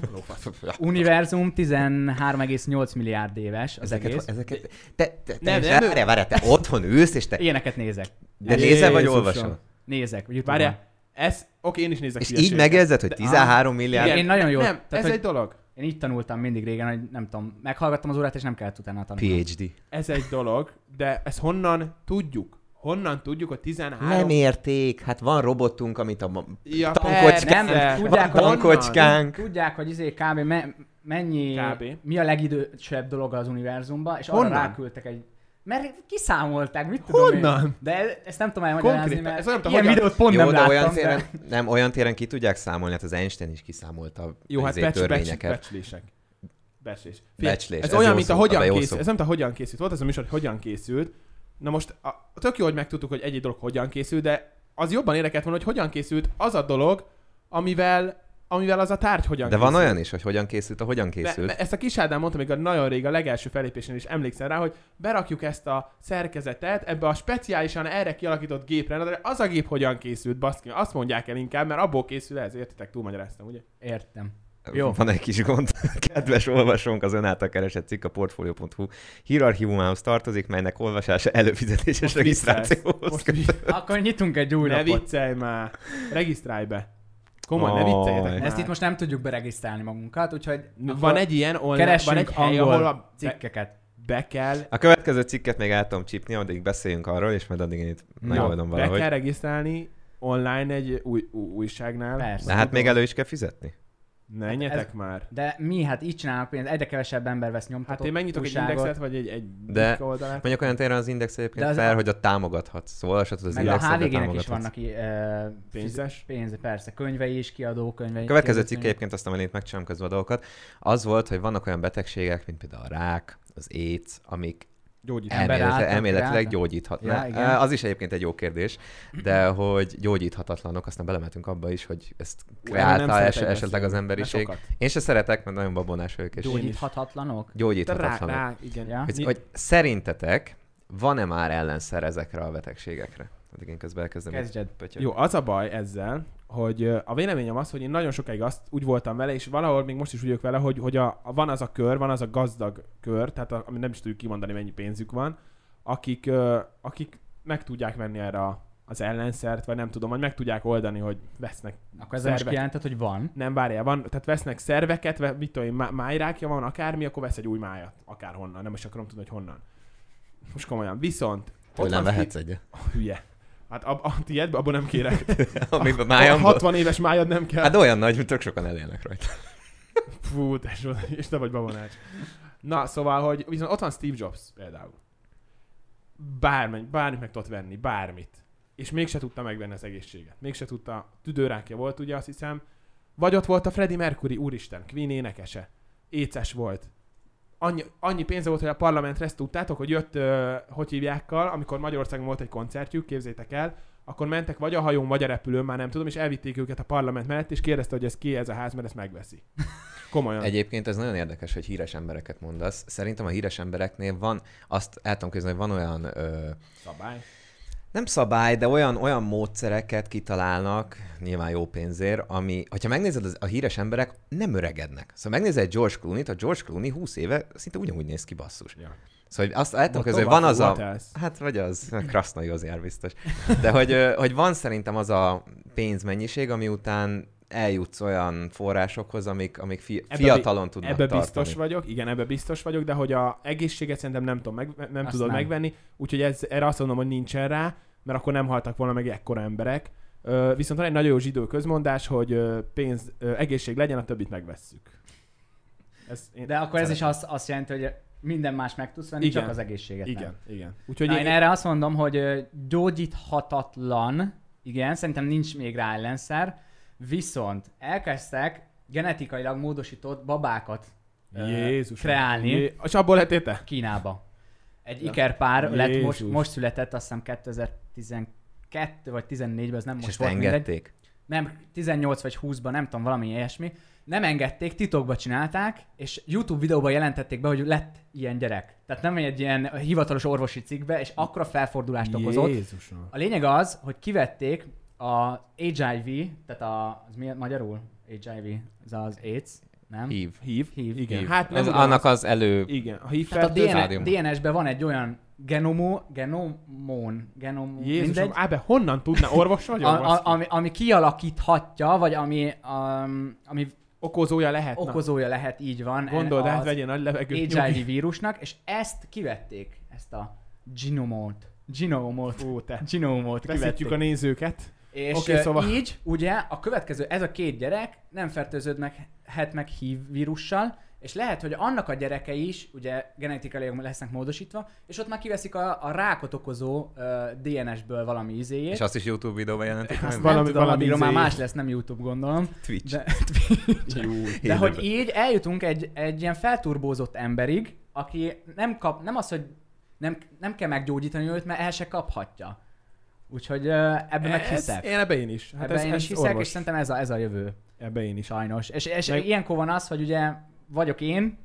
[SPEAKER 1] univerzum 13,8 milliárd éves az
[SPEAKER 2] Ezeket,
[SPEAKER 1] egész.
[SPEAKER 2] ezeket, te, te, te,
[SPEAKER 3] Nem,
[SPEAKER 2] is-
[SPEAKER 3] nem, ő-
[SPEAKER 2] várjál, várjál, te otthon ülsz, és te,
[SPEAKER 1] Ilyeneket nézek.
[SPEAKER 2] de nézel vagy
[SPEAKER 3] Jézusom.
[SPEAKER 2] olvasol?
[SPEAKER 1] Nézek. YouTube-on.
[SPEAKER 3] Várjál, ez, oké, én is nézek
[SPEAKER 2] És így
[SPEAKER 3] hülyeséget.
[SPEAKER 2] megérzed, hogy 13
[SPEAKER 3] Igen,
[SPEAKER 2] milliárd
[SPEAKER 1] Igen, én nagyon jól-
[SPEAKER 3] Nem,
[SPEAKER 1] tehát,
[SPEAKER 3] ez
[SPEAKER 1] hogy-
[SPEAKER 3] egy dolog.
[SPEAKER 1] Én így tanultam mindig régen, hogy nem tudom, meghallgattam az órát, és nem kellett utána tanulni.
[SPEAKER 2] PhD.
[SPEAKER 3] Ez egy dolog, de ezt honnan tudjuk? Honnan tudjuk, hogy 13...
[SPEAKER 2] Nem érték, hát van robotunk, amit a ma-
[SPEAKER 3] Ja,
[SPEAKER 2] tankocskánk,
[SPEAKER 3] persze.
[SPEAKER 1] nem, tudják,
[SPEAKER 2] van
[SPEAKER 1] hogy
[SPEAKER 3] honnan.
[SPEAKER 2] tankocskánk.
[SPEAKER 1] Tudják, hogy izé kb. Me, mennyi,
[SPEAKER 3] Kb.
[SPEAKER 1] kb. mi a legidősebb dolog az univerzumban, és
[SPEAKER 3] Honnan?
[SPEAKER 1] arra ráküldtek egy... Mert kiszámolták, mit tudom
[SPEAKER 3] Honnan?
[SPEAKER 1] én. De e- ezt nem tudom elmagyarázni,
[SPEAKER 3] Konkrétan.
[SPEAKER 1] mert
[SPEAKER 3] Ez olyan, mint a
[SPEAKER 1] ilyen
[SPEAKER 3] hogyan-
[SPEAKER 1] videót pont
[SPEAKER 2] Jó,
[SPEAKER 1] nem
[SPEAKER 2] de
[SPEAKER 1] láttam.
[SPEAKER 2] olyan
[SPEAKER 1] de-
[SPEAKER 2] téren, nem, olyan téren ki tudják számolni, hát az Einstein is kiszámolta
[SPEAKER 3] Jó, hát
[SPEAKER 2] izé,
[SPEAKER 3] becs, becs,
[SPEAKER 2] törvényeket.
[SPEAKER 3] becslések. Becslés.
[SPEAKER 2] Becslés,
[SPEAKER 3] Ez,
[SPEAKER 2] ez
[SPEAKER 3] ez olyan,
[SPEAKER 2] jó
[SPEAKER 3] mint a
[SPEAKER 2] szó, ebbe
[SPEAKER 3] hogyan
[SPEAKER 2] jó
[SPEAKER 3] készült.
[SPEAKER 2] szó.
[SPEAKER 3] Ez nem mint a hogyan készült. Volt az a műsor, hogy hogyan készült. Na most a, tök jó, hogy megtudtuk, hogy egy dolog hogyan készült, de az jobban érdekelt volna, hogy hogyan készült az a dolog, amivel amivel az a tárgy hogyan
[SPEAKER 2] De van
[SPEAKER 3] készült.
[SPEAKER 2] olyan is, hogy hogyan készült, a hogyan
[SPEAKER 3] Be-
[SPEAKER 2] készült.
[SPEAKER 3] be- ezt a kis Ádám mondta még a nagyon rég, a legelső felépésen is emlékszem rá, hogy berakjuk ezt a szerkezetet ebbe a speciálisan erre kialakított gépre, Na, de az a gép hogyan készült, baszki, azt mondják el inkább, mert abból készül ez, értitek, túlmagyaráztam, ugye?
[SPEAKER 1] Értem.
[SPEAKER 2] Jó.
[SPEAKER 1] Jó.
[SPEAKER 2] Van egy kis gond. Kedves olvasónk, az ön által keresett cikk a portfolio.hu hierarchívumához tartozik, melynek olvasása előfizetés és
[SPEAKER 3] Most viccelsz.
[SPEAKER 2] regisztrációhoz
[SPEAKER 3] Most
[SPEAKER 2] kötődik.
[SPEAKER 1] Akkor nyitunk egy új
[SPEAKER 3] Ne
[SPEAKER 1] lapot.
[SPEAKER 3] viccelj már, regisztrálj be. Komoly, ne
[SPEAKER 2] Aj.
[SPEAKER 3] vicceljetek
[SPEAKER 1] Ezt
[SPEAKER 3] már.
[SPEAKER 1] itt most nem tudjuk beregisztrálni magunkat, úgyhogy
[SPEAKER 3] N-
[SPEAKER 1] akkor
[SPEAKER 3] Van egy ilyen online,
[SPEAKER 1] keressünk
[SPEAKER 3] van egy hely,
[SPEAKER 1] angol
[SPEAKER 3] ahol a be,
[SPEAKER 1] cikkeket.
[SPEAKER 3] be kell,
[SPEAKER 2] A következő cikket még el tudom csípni, addig beszéljünk arról, és majd addig én itt
[SPEAKER 1] Na, hát-
[SPEAKER 2] megoldom
[SPEAKER 3] be
[SPEAKER 2] valahogy.
[SPEAKER 3] kell regisztrálni online egy új, új, újságnál.
[SPEAKER 1] Persze. Hát
[SPEAKER 2] De hát még elő is kell fizetni.
[SPEAKER 3] Ne enyetek
[SPEAKER 1] Ez-
[SPEAKER 3] már.
[SPEAKER 1] De mi hát így csinálnak pénzt, egyre kevesebb ember vesz nyomtatott
[SPEAKER 3] Hát én megnyitok egy
[SPEAKER 1] újságot.
[SPEAKER 3] indexet, vagy egy, egy
[SPEAKER 2] De-
[SPEAKER 3] Bika oldalát.
[SPEAKER 2] Mondjuk olyan téren az index egyébként
[SPEAKER 1] De az-
[SPEAKER 2] fel, hogy ott támogathatsz. Szóval olvashatod az
[SPEAKER 1] Meg a
[SPEAKER 2] indexet, de
[SPEAKER 1] HVG-nek is
[SPEAKER 2] támogathatsz.
[SPEAKER 1] vannak ö,
[SPEAKER 3] Pénzes?
[SPEAKER 1] pénze, persze. Könyvei is, kiadó könyvei.
[SPEAKER 2] A következő cikk
[SPEAKER 1] kiadókönyvei.
[SPEAKER 2] egyébként azt, amit megcsinálom közben a dolgokat, az volt, hogy vannak olyan betegségek, mint például a rák, az AIDS, amik
[SPEAKER 3] Gyógyítás.
[SPEAKER 1] Ember
[SPEAKER 2] elméletileg,
[SPEAKER 1] által
[SPEAKER 2] elméletileg
[SPEAKER 1] kreálta?
[SPEAKER 2] gyógyíthatnak.
[SPEAKER 1] Ja, igen.
[SPEAKER 2] Ja, az is egyébként egy jó kérdés, de hogy gyógyíthatatlanok, aztán belemetünk abba is, hogy ezt
[SPEAKER 3] nem
[SPEAKER 2] kreálta
[SPEAKER 3] szeretek
[SPEAKER 2] es-
[SPEAKER 3] beszélni,
[SPEAKER 2] esetleg az
[SPEAKER 3] mert
[SPEAKER 2] emberiség.
[SPEAKER 3] Hát sokat.
[SPEAKER 2] Én se szeretek, mert nagyon babonás vagyok, és
[SPEAKER 3] Gyógy-
[SPEAKER 1] Gyógyíthatatlanok?
[SPEAKER 3] Te Rá,
[SPEAKER 2] gyógyíthatatlanok.
[SPEAKER 3] rá, igen.
[SPEAKER 1] Ja.
[SPEAKER 2] Hogy,
[SPEAKER 3] Mi-
[SPEAKER 2] hogy szerintetek van-e már ellenszer ezekre a betegségekre? Addig én közben elkezdem.
[SPEAKER 1] Kezdjed.
[SPEAKER 2] Pötyög.
[SPEAKER 3] Jó, az a baj ezzel, hogy ö, a véleményem az, hogy én nagyon sokáig azt úgy voltam vele, és valahol még most is úgy vagyok vele, hogy, hogy a, a, van az a kör, van az a gazdag kör, tehát a, ami nem is tudjuk kimondani, mennyi pénzük van, akik, ö, akik meg tudják venni erre a, az ellenszert, vagy nem tudom, vagy meg tudják oldani, hogy vesznek
[SPEAKER 1] Akkor ezzel most
[SPEAKER 3] Szervek.
[SPEAKER 1] kijelentett, hogy van.
[SPEAKER 3] nem várjál, van, tehát vesznek szerveket, ve, mit tudom én, má- májrákja van, akármi, akkor vesz egy új májat, akárhonnan, nem is akarom tudni, hogy honnan. Most komolyan. Viszont...
[SPEAKER 2] Hogy nem
[SPEAKER 3] ott van-
[SPEAKER 2] vehetsz egyet?
[SPEAKER 3] Hülye. Hát a, a tiédbe, abban nem kérek.
[SPEAKER 2] Amiben
[SPEAKER 3] A
[SPEAKER 2] májamból?
[SPEAKER 3] 60 éves májad nem kell.
[SPEAKER 2] Hát olyan nagy, hogy tök sokan elélnek rajta.
[SPEAKER 3] Fú, tesó, és te vagy babonás. Na, szóval, hogy viszont ott van Steve Jobs például. Bármennyi, bármit meg tudott venni, bármit. És mégse tudta megvenni az egészséget. Mégse tudta, tüdőrákja volt, ugye azt hiszem. Vagy ott volt a Freddie Mercury, úristen, Queen énekese. Éces volt. Annyi, annyi pénze volt, hogy a parlamentre ezt tudtátok, hogy jött, ö, hogy hívjákkal, amikor Magyarországon volt egy koncertjük, képzétek el, akkor mentek vagy a hajón, vagy a repülőn, már nem tudom, és elvitték őket a parlament mellett, és kérdezte, hogy ez ki ez a ház, mert ezt megveszi. Komolyan.
[SPEAKER 2] Egyébként ez nagyon érdekes, hogy híres embereket mondasz. Szerintem a híres embereknél van, azt el tudom képzelni, hogy van olyan ö,
[SPEAKER 3] Szabály.
[SPEAKER 2] nem szabály, de olyan, olyan módszereket kitalálnak, nyilván jó pénzért, ami, hogyha megnézed, az, a híres emberek nem öregednek. Szóval megnézed George Clooney-t, a George Clooney 20 éve szinte ugyanúgy néz ki basszus.
[SPEAKER 3] Ja.
[SPEAKER 2] Szóval hogy azt el tudom
[SPEAKER 3] Ott
[SPEAKER 2] képzelni, hogy
[SPEAKER 3] Hát tovább
[SPEAKER 2] van az a...
[SPEAKER 3] fogadhatsz.
[SPEAKER 2] Hát vagy az, krasznai az jár biztos. De hogy, ö, hogy van szerintem az a pénzmennyiség, ami után eljutsz olyan forrásokhoz, amik, amik fi,
[SPEAKER 3] Ebbe bi-
[SPEAKER 2] fiatalon tudnak
[SPEAKER 3] Ebbe
[SPEAKER 2] tartani.
[SPEAKER 3] biztos vagyok, igen, ebbe biztos vagyok, de hogy a egészséget szerintem nem, tudom, meg, nem
[SPEAKER 1] Azt
[SPEAKER 3] tudod
[SPEAKER 1] nem.
[SPEAKER 3] megvenni, úgyhogy ez, erre azt mondom, hogy nincsen rá, mert akkor nem haltak volna meg ekkora emberek. Ö, viszont van egy nagyon jó zsidó közmondás, hogy ö, pénz, ö, egészség legyen, a többit megvesszük. Ez, én
[SPEAKER 1] De akkor ez is
[SPEAKER 3] szeretem.
[SPEAKER 1] azt, azt jelenti, hogy minden más meg tudsz venni,
[SPEAKER 3] Igen.
[SPEAKER 1] csak az egészséget nem.
[SPEAKER 3] Igen, igen. Úgyhogy
[SPEAKER 1] Na,
[SPEAKER 3] én,
[SPEAKER 1] én erre azt mondom, hogy ö, gyógyíthatatlan, igen, szerintem nincs még rá ellenszer, viszont elkezdtek genetikailag módosított babákat ö,
[SPEAKER 3] Jézus.
[SPEAKER 1] kreálni
[SPEAKER 3] Jé... És abból lettél te?
[SPEAKER 1] Kínába. Egy
[SPEAKER 3] Ja.
[SPEAKER 1] ikerpár lett most,
[SPEAKER 3] Jézus.
[SPEAKER 1] most született, azt hiszem 2012 vagy 14-ben, ez nem
[SPEAKER 2] És
[SPEAKER 1] most
[SPEAKER 2] ezt
[SPEAKER 1] volt mindegy.
[SPEAKER 2] engedték.
[SPEAKER 1] nem, 18 vagy 20-ban, nem tudom, valami ilyesmi, nem engedték, titokba csinálták, és YouTube videóban jelentették be, hogy lett ilyen gyerek. Tehát nem egy ilyen hivatalos orvosi cikkbe, és akkora felfordulást okozott.
[SPEAKER 3] Jézusom.
[SPEAKER 1] A lényeg az, hogy kivették a HIV, tehát a, az mi a- magyarul? HIV, ez az AIDS, nem?
[SPEAKER 2] Hív.
[SPEAKER 3] Hív?
[SPEAKER 1] Hív.
[SPEAKER 3] Igen.
[SPEAKER 2] Hív.
[SPEAKER 3] Hát nem
[SPEAKER 2] az,
[SPEAKER 3] ugyanaz.
[SPEAKER 2] annak az elő...
[SPEAKER 3] Igen, a hív
[SPEAKER 1] Tehát a
[SPEAKER 3] fertőzés-
[SPEAKER 1] DN-
[SPEAKER 2] Stádium.
[SPEAKER 1] DNS-ben van egy olyan genomó, genomón, genom,
[SPEAKER 3] Jézusom,
[SPEAKER 1] mindegy,
[SPEAKER 3] Ábe, honnan tudna? Orvos vagyok?
[SPEAKER 1] a, a,
[SPEAKER 3] baszki?
[SPEAKER 1] ami, ami kialakíthatja, vagy ami, um, ami
[SPEAKER 3] Okozója lehet. na.
[SPEAKER 1] okozója lehet, így van.
[SPEAKER 3] Gondold
[SPEAKER 1] en-
[SPEAKER 3] át,
[SPEAKER 1] az
[SPEAKER 3] vegyél nagy levegőt. nyugi.
[SPEAKER 1] HIV vírusnak, és ezt kivették, ezt a genomot. Genomot.
[SPEAKER 3] Fú, te.
[SPEAKER 1] Genomot
[SPEAKER 3] Veszítjük
[SPEAKER 1] kivették.
[SPEAKER 3] a nézőket.
[SPEAKER 1] És
[SPEAKER 3] Oké,
[SPEAKER 1] okay,
[SPEAKER 3] szóval-
[SPEAKER 1] szóval... így, ugye, a következő, ez a két gyerek nem fertőződ meg, het meg HIV vírussal, és lehet, hogy annak a gyerekei is, ugye genetikailag lesznek módosítva, és ott már kiveszik a, a rákot okozó uh, DNS-ből valami izéjét.
[SPEAKER 2] És azt is YouTube videóban jelentik,
[SPEAKER 1] Azt
[SPEAKER 2] meg
[SPEAKER 1] nem valami,
[SPEAKER 3] valami-
[SPEAKER 1] tudom,
[SPEAKER 3] valami
[SPEAKER 1] addigra már
[SPEAKER 3] izé.
[SPEAKER 1] más lesz, nem YouTube gondolom.
[SPEAKER 2] Twitch.
[SPEAKER 1] De,
[SPEAKER 3] Jó.
[SPEAKER 1] de
[SPEAKER 2] Élőben.
[SPEAKER 1] hogy így eljutunk egy, egy ilyen felturbózott emberig, aki nem kap, nem az, hogy nem, nem kell meggyógyítani őt, mert el se kaphatja. Úgyhogy ö, ebben meg hiszek.
[SPEAKER 3] Én ebbe én is. Hát
[SPEAKER 1] ebben
[SPEAKER 3] ez,
[SPEAKER 1] én
[SPEAKER 3] ez
[SPEAKER 1] is hiszek,
[SPEAKER 3] orvos.
[SPEAKER 1] és szerintem ez a, ez a jövő.
[SPEAKER 3] Ebbe én is.
[SPEAKER 1] Sajnos. És, és
[SPEAKER 3] Meg-
[SPEAKER 1] Meg... ilyenkor van az, hogy ugye vagyok én,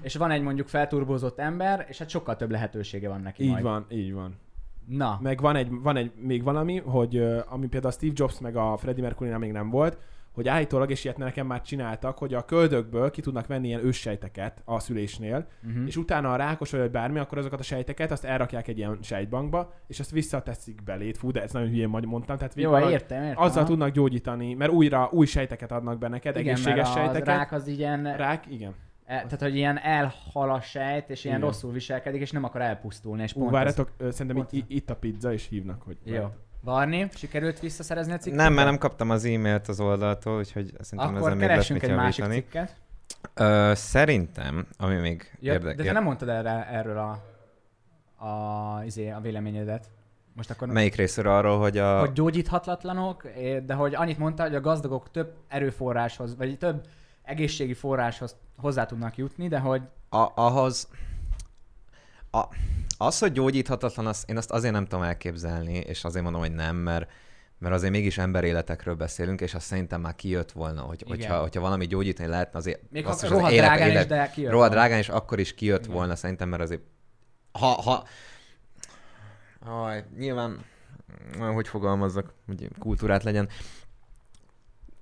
[SPEAKER 1] és van egy mondjuk felturbózott ember, és hát sokkal több lehetősége van neki
[SPEAKER 3] Így
[SPEAKER 1] majd.
[SPEAKER 3] van, így van.
[SPEAKER 1] Na,
[SPEAKER 3] Meg van egy, van egy még valami, hogy ö, ami például a Steve Jobs meg a Freddie Mercury még nem volt, hogy állítólag, és ilyet nekem már csináltak, hogy a köldökből ki tudnak venni ilyen őssejteket a szülésnél,
[SPEAKER 1] Mhm.
[SPEAKER 3] uh-huh. és utána a rákos vagy bármi, akkor azokat a sejteket azt elrakják egy ilyen sejtbankba, és azt visszateszik belét. Fú, de ez nagyon hülyén magy- mondtam. Tehát
[SPEAKER 1] jó,
[SPEAKER 3] valahogy
[SPEAKER 1] értem, értem.
[SPEAKER 3] azzal
[SPEAKER 1] aha.
[SPEAKER 3] tudnak gyógyítani, mert újra új sejteket adnak be neked,
[SPEAKER 1] igen,
[SPEAKER 3] egészséges
[SPEAKER 1] mert a
[SPEAKER 3] sejteket.
[SPEAKER 1] rák az ilyen, rák...
[SPEAKER 3] rák, igen.
[SPEAKER 1] E, tehát hogy ilyen elhal a sejt, és ilyen
[SPEAKER 3] Igen.
[SPEAKER 1] igen. rosszul viselkedik, és nem akar elpusztulni, és
[SPEAKER 3] Ú,
[SPEAKER 1] pont ez...
[SPEAKER 3] várjatok, ö, szerintem
[SPEAKER 1] pont
[SPEAKER 3] itt, i- itt a pizza, és hívnak, hogy...
[SPEAKER 1] Jó. Barni, sikerült visszaszerezni a cikket?
[SPEAKER 2] Nem, mert nem kaptam az e-mailt az oldaltól, úgyhogy szerintem
[SPEAKER 1] Akkor
[SPEAKER 2] ezen még lesz
[SPEAKER 1] keresünk
[SPEAKER 2] mit
[SPEAKER 1] egy másik
[SPEAKER 2] javítani.
[SPEAKER 1] cikket.
[SPEAKER 2] Ö, szerintem, ami még
[SPEAKER 1] Ja, de
[SPEAKER 2] érdekes.
[SPEAKER 1] te nem mondtad erre, erről a, a, izé, a véleményedet. Most akkor
[SPEAKER 2] Melyik részről arról, hogy a...
[SPEAKER 1] hogy gyógyíthatatlanok, eh, de hogy annyit mondta, hogy a gazdagok több erőforráshoz, vagy több egészségi forráshoz hozzá tudnak jutni, de hogy
[SPEAKER 2] A, ahhoz... A, az, hogy gyógyíthatatlan, az, én azt azért nem tudom elképzelni, és azért mondom, hogy nem, mert, mert azért mégis emberéletekről beszélünk, és azt szerintem már kijött volna, hogy,
[SPEAKER 1] Igen.
[SPEAKER 2] hogyha, hogyha valami gyógyítani lehetne, azért
[SPEAKER 1] még
[SPEAKER 2] basszus,
[SPEAKER 1] ha rohadt
[SPEAKER 2] élet-
[SPEAKER 1] drágán is,
[SPEAKER 2] élet-
[SPEAKER 1] de kijött.
[SPEAKER 2] rohadt
[SPEAKER 1] volna.
[SPEAKER 2] drágán, és akkor is kijött
[SPEAKER 1] Igen.
[SPEAKER 2] volna szerintem, mert azért... Ha, ha... Aj, nyilván... Hogy fogalmazzak, hogy kultúrát legyen.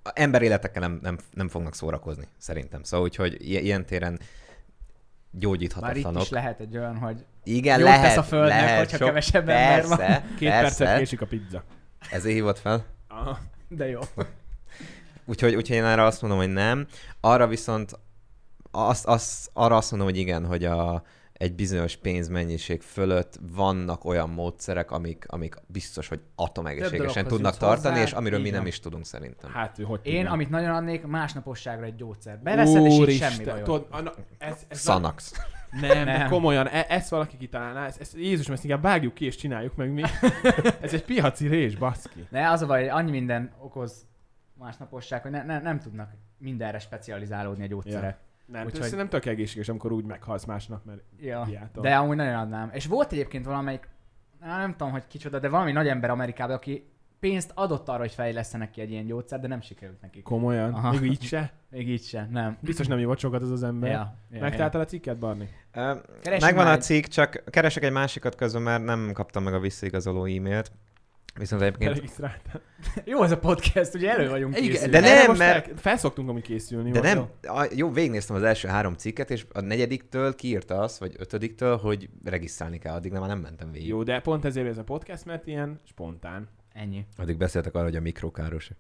[SPEAKER 2] A Emberéletekkel nem, nem, nem fognak szórakozni, szerintem. Szóval úgyhogy i- ilyen téren
[SPEAKER 1] Már itt
[SPEAKER 2] gyógyíthatatlanok.
[SPEAKER 1] is lehet egy olyan, hogy
[SPEAKER 2] Igen,
[SPEAKER 1] jót
[SPEAKER 2] lehet,
[SPEAKER 1] tesz a földnek,
[SPEAKER 2] lehet,
[SPEAKER 1] hogyha
[SPEAKER 2] sok-
[SPEAKER 1] kevesebb ember
[SPEAKER 2] persze,
[SPEAKER 1] van.
[SPEAKER 3] Két
[SPEAKER 2] persze,
[SPEAKER 3] percet késik a pizza.
[SPEAKER 2] Ezért hívott fel.
[SPEAKER 3] Aha.
[SPEAKER 1] de jó.
[SPEAKER 2] Úgyhogy, úgyhogy én erre azt mondom, hogy nem. Arra viszont azt, azt, arra azt mondom, hogy igen, hogy a, egy bizonyos pénzmennyiség fölött vannak olyan módszerek, amik, amik biztos, hogy atomegészségesen
[SPEAKER 1] dologhoz
[SPEAKER 2] tudnak
[SPEAKER 1] jutsz hozzá.
[SPEAKER 2] tartani, és amiről mi
[SPEAKER 1] Így
[SPEAKER 2] nem
[SPEAKER 1] van.
[SPEAKER 2] is tudunk szerintem.
[SPEAKER 3] Hát, ő hogy
[SPEAKER 1] Én,
[SPEAKER 3] tudja?
[SPEAKER 1] amit nagyon adnék, másnaposságra egy gyógyszert. Beveszed, és így semmi bajod.
[SPEAKER 3] Tudod, anna, ez, ez nem,
[SPEAKER 2] Szanax.
[SPEAKER 3] nem, de
[SPEAKER 1] Nem.
[SPEAKER 3] komolyan, e, ezt valaki kitalálná, ezt, ezt Jézusom, ezt inkább vágjuk ki és csináljuk meg mi. ez egy piaci rés, baszki.
[SPEAKER 1] Ne, az a baj, hogy annyi minden okoz másnaposság, hogy ne, ne, nem tudnak mindenre specializálódni a gyógyszerek.
[SPEAKER 3] Nem, Úgyhogy...
[SPEAKER 1] Úgyhogy-
[SPEAKER 3] szerintem tök egészséges, amikor úgy meghalsz másnap, mert
[SPEAKER 1] Ja.
[SPEAKER 3] Hiátom.
[SPEAKER 1] De amúgy nagyon adnám. És volt egyébként valamelyik, á, nem tudom, hogy kicsoda, de valami nagy ember Amerikában, aki pénzt adott arra, hogy fejlesztenek ki egy ilyen gyógyszert, de nem sikerült nekik.
[SPEAKER 3] komolyan, Aha.
[SPEAKER 1] Aha.
[SPEAKER 3] még így se.
[SPEAKER 1] Még így sem, nem.
[SPEAKER 3] Biztos nem ívott sokat az az ember. Ja.
[SPEAKER 1] Ja, ja, ja.
[SPEAKER 3] Megtaláltál a cikket, Barni?
[SPEAKER 2] Ö,
[SPEAKER 1] Keresünk
[SPEAKER 2] Megvan
[SPEAKER 1] már
[SPEAKER 2] a
[SPEAKER 1] egy-
[SPEAKER 2] cikk, csak keresek egy másikat közben, mert nem kaptam meg a visszaigazoló e-mailt. Viszont egyébként...
[SPEAKER 3] Regisztráltál.
[SPEAKER 1] Jó ez a podcast, ugye elő vagyunk
[SPEAKER 2] Igen,
[SPEAKER 1] készülve.
[SPEAKER 2] de
[SPEAKER 3] Erre
[SPEAKER 2] nem,
[SPEAKER 3] most
[SPEAKER 2] mert-
[SPEAKER 3] fel- Felszoktunk amúgy készülni.
[SPEAKER 2] De
[SPEAKER 3] vagy
[SPEAKER 2] nem,
[SPEAKER 3] jó?
[SPEAKER 2] a, jó, végignéztem az első három cikket, és a negyediktől kiírta azt, vagy ötödiktől, hogy regisztrálni kell, addig nem, már nem mentem végig.
[SPEAKER 3] Jó, de pont ezért ez a podcast, mert ilyen spontán.
[SPEAKER 1] Ennyi.
[SPEAKER 2] Addig beszéltek arra, hogy a mikrokáros,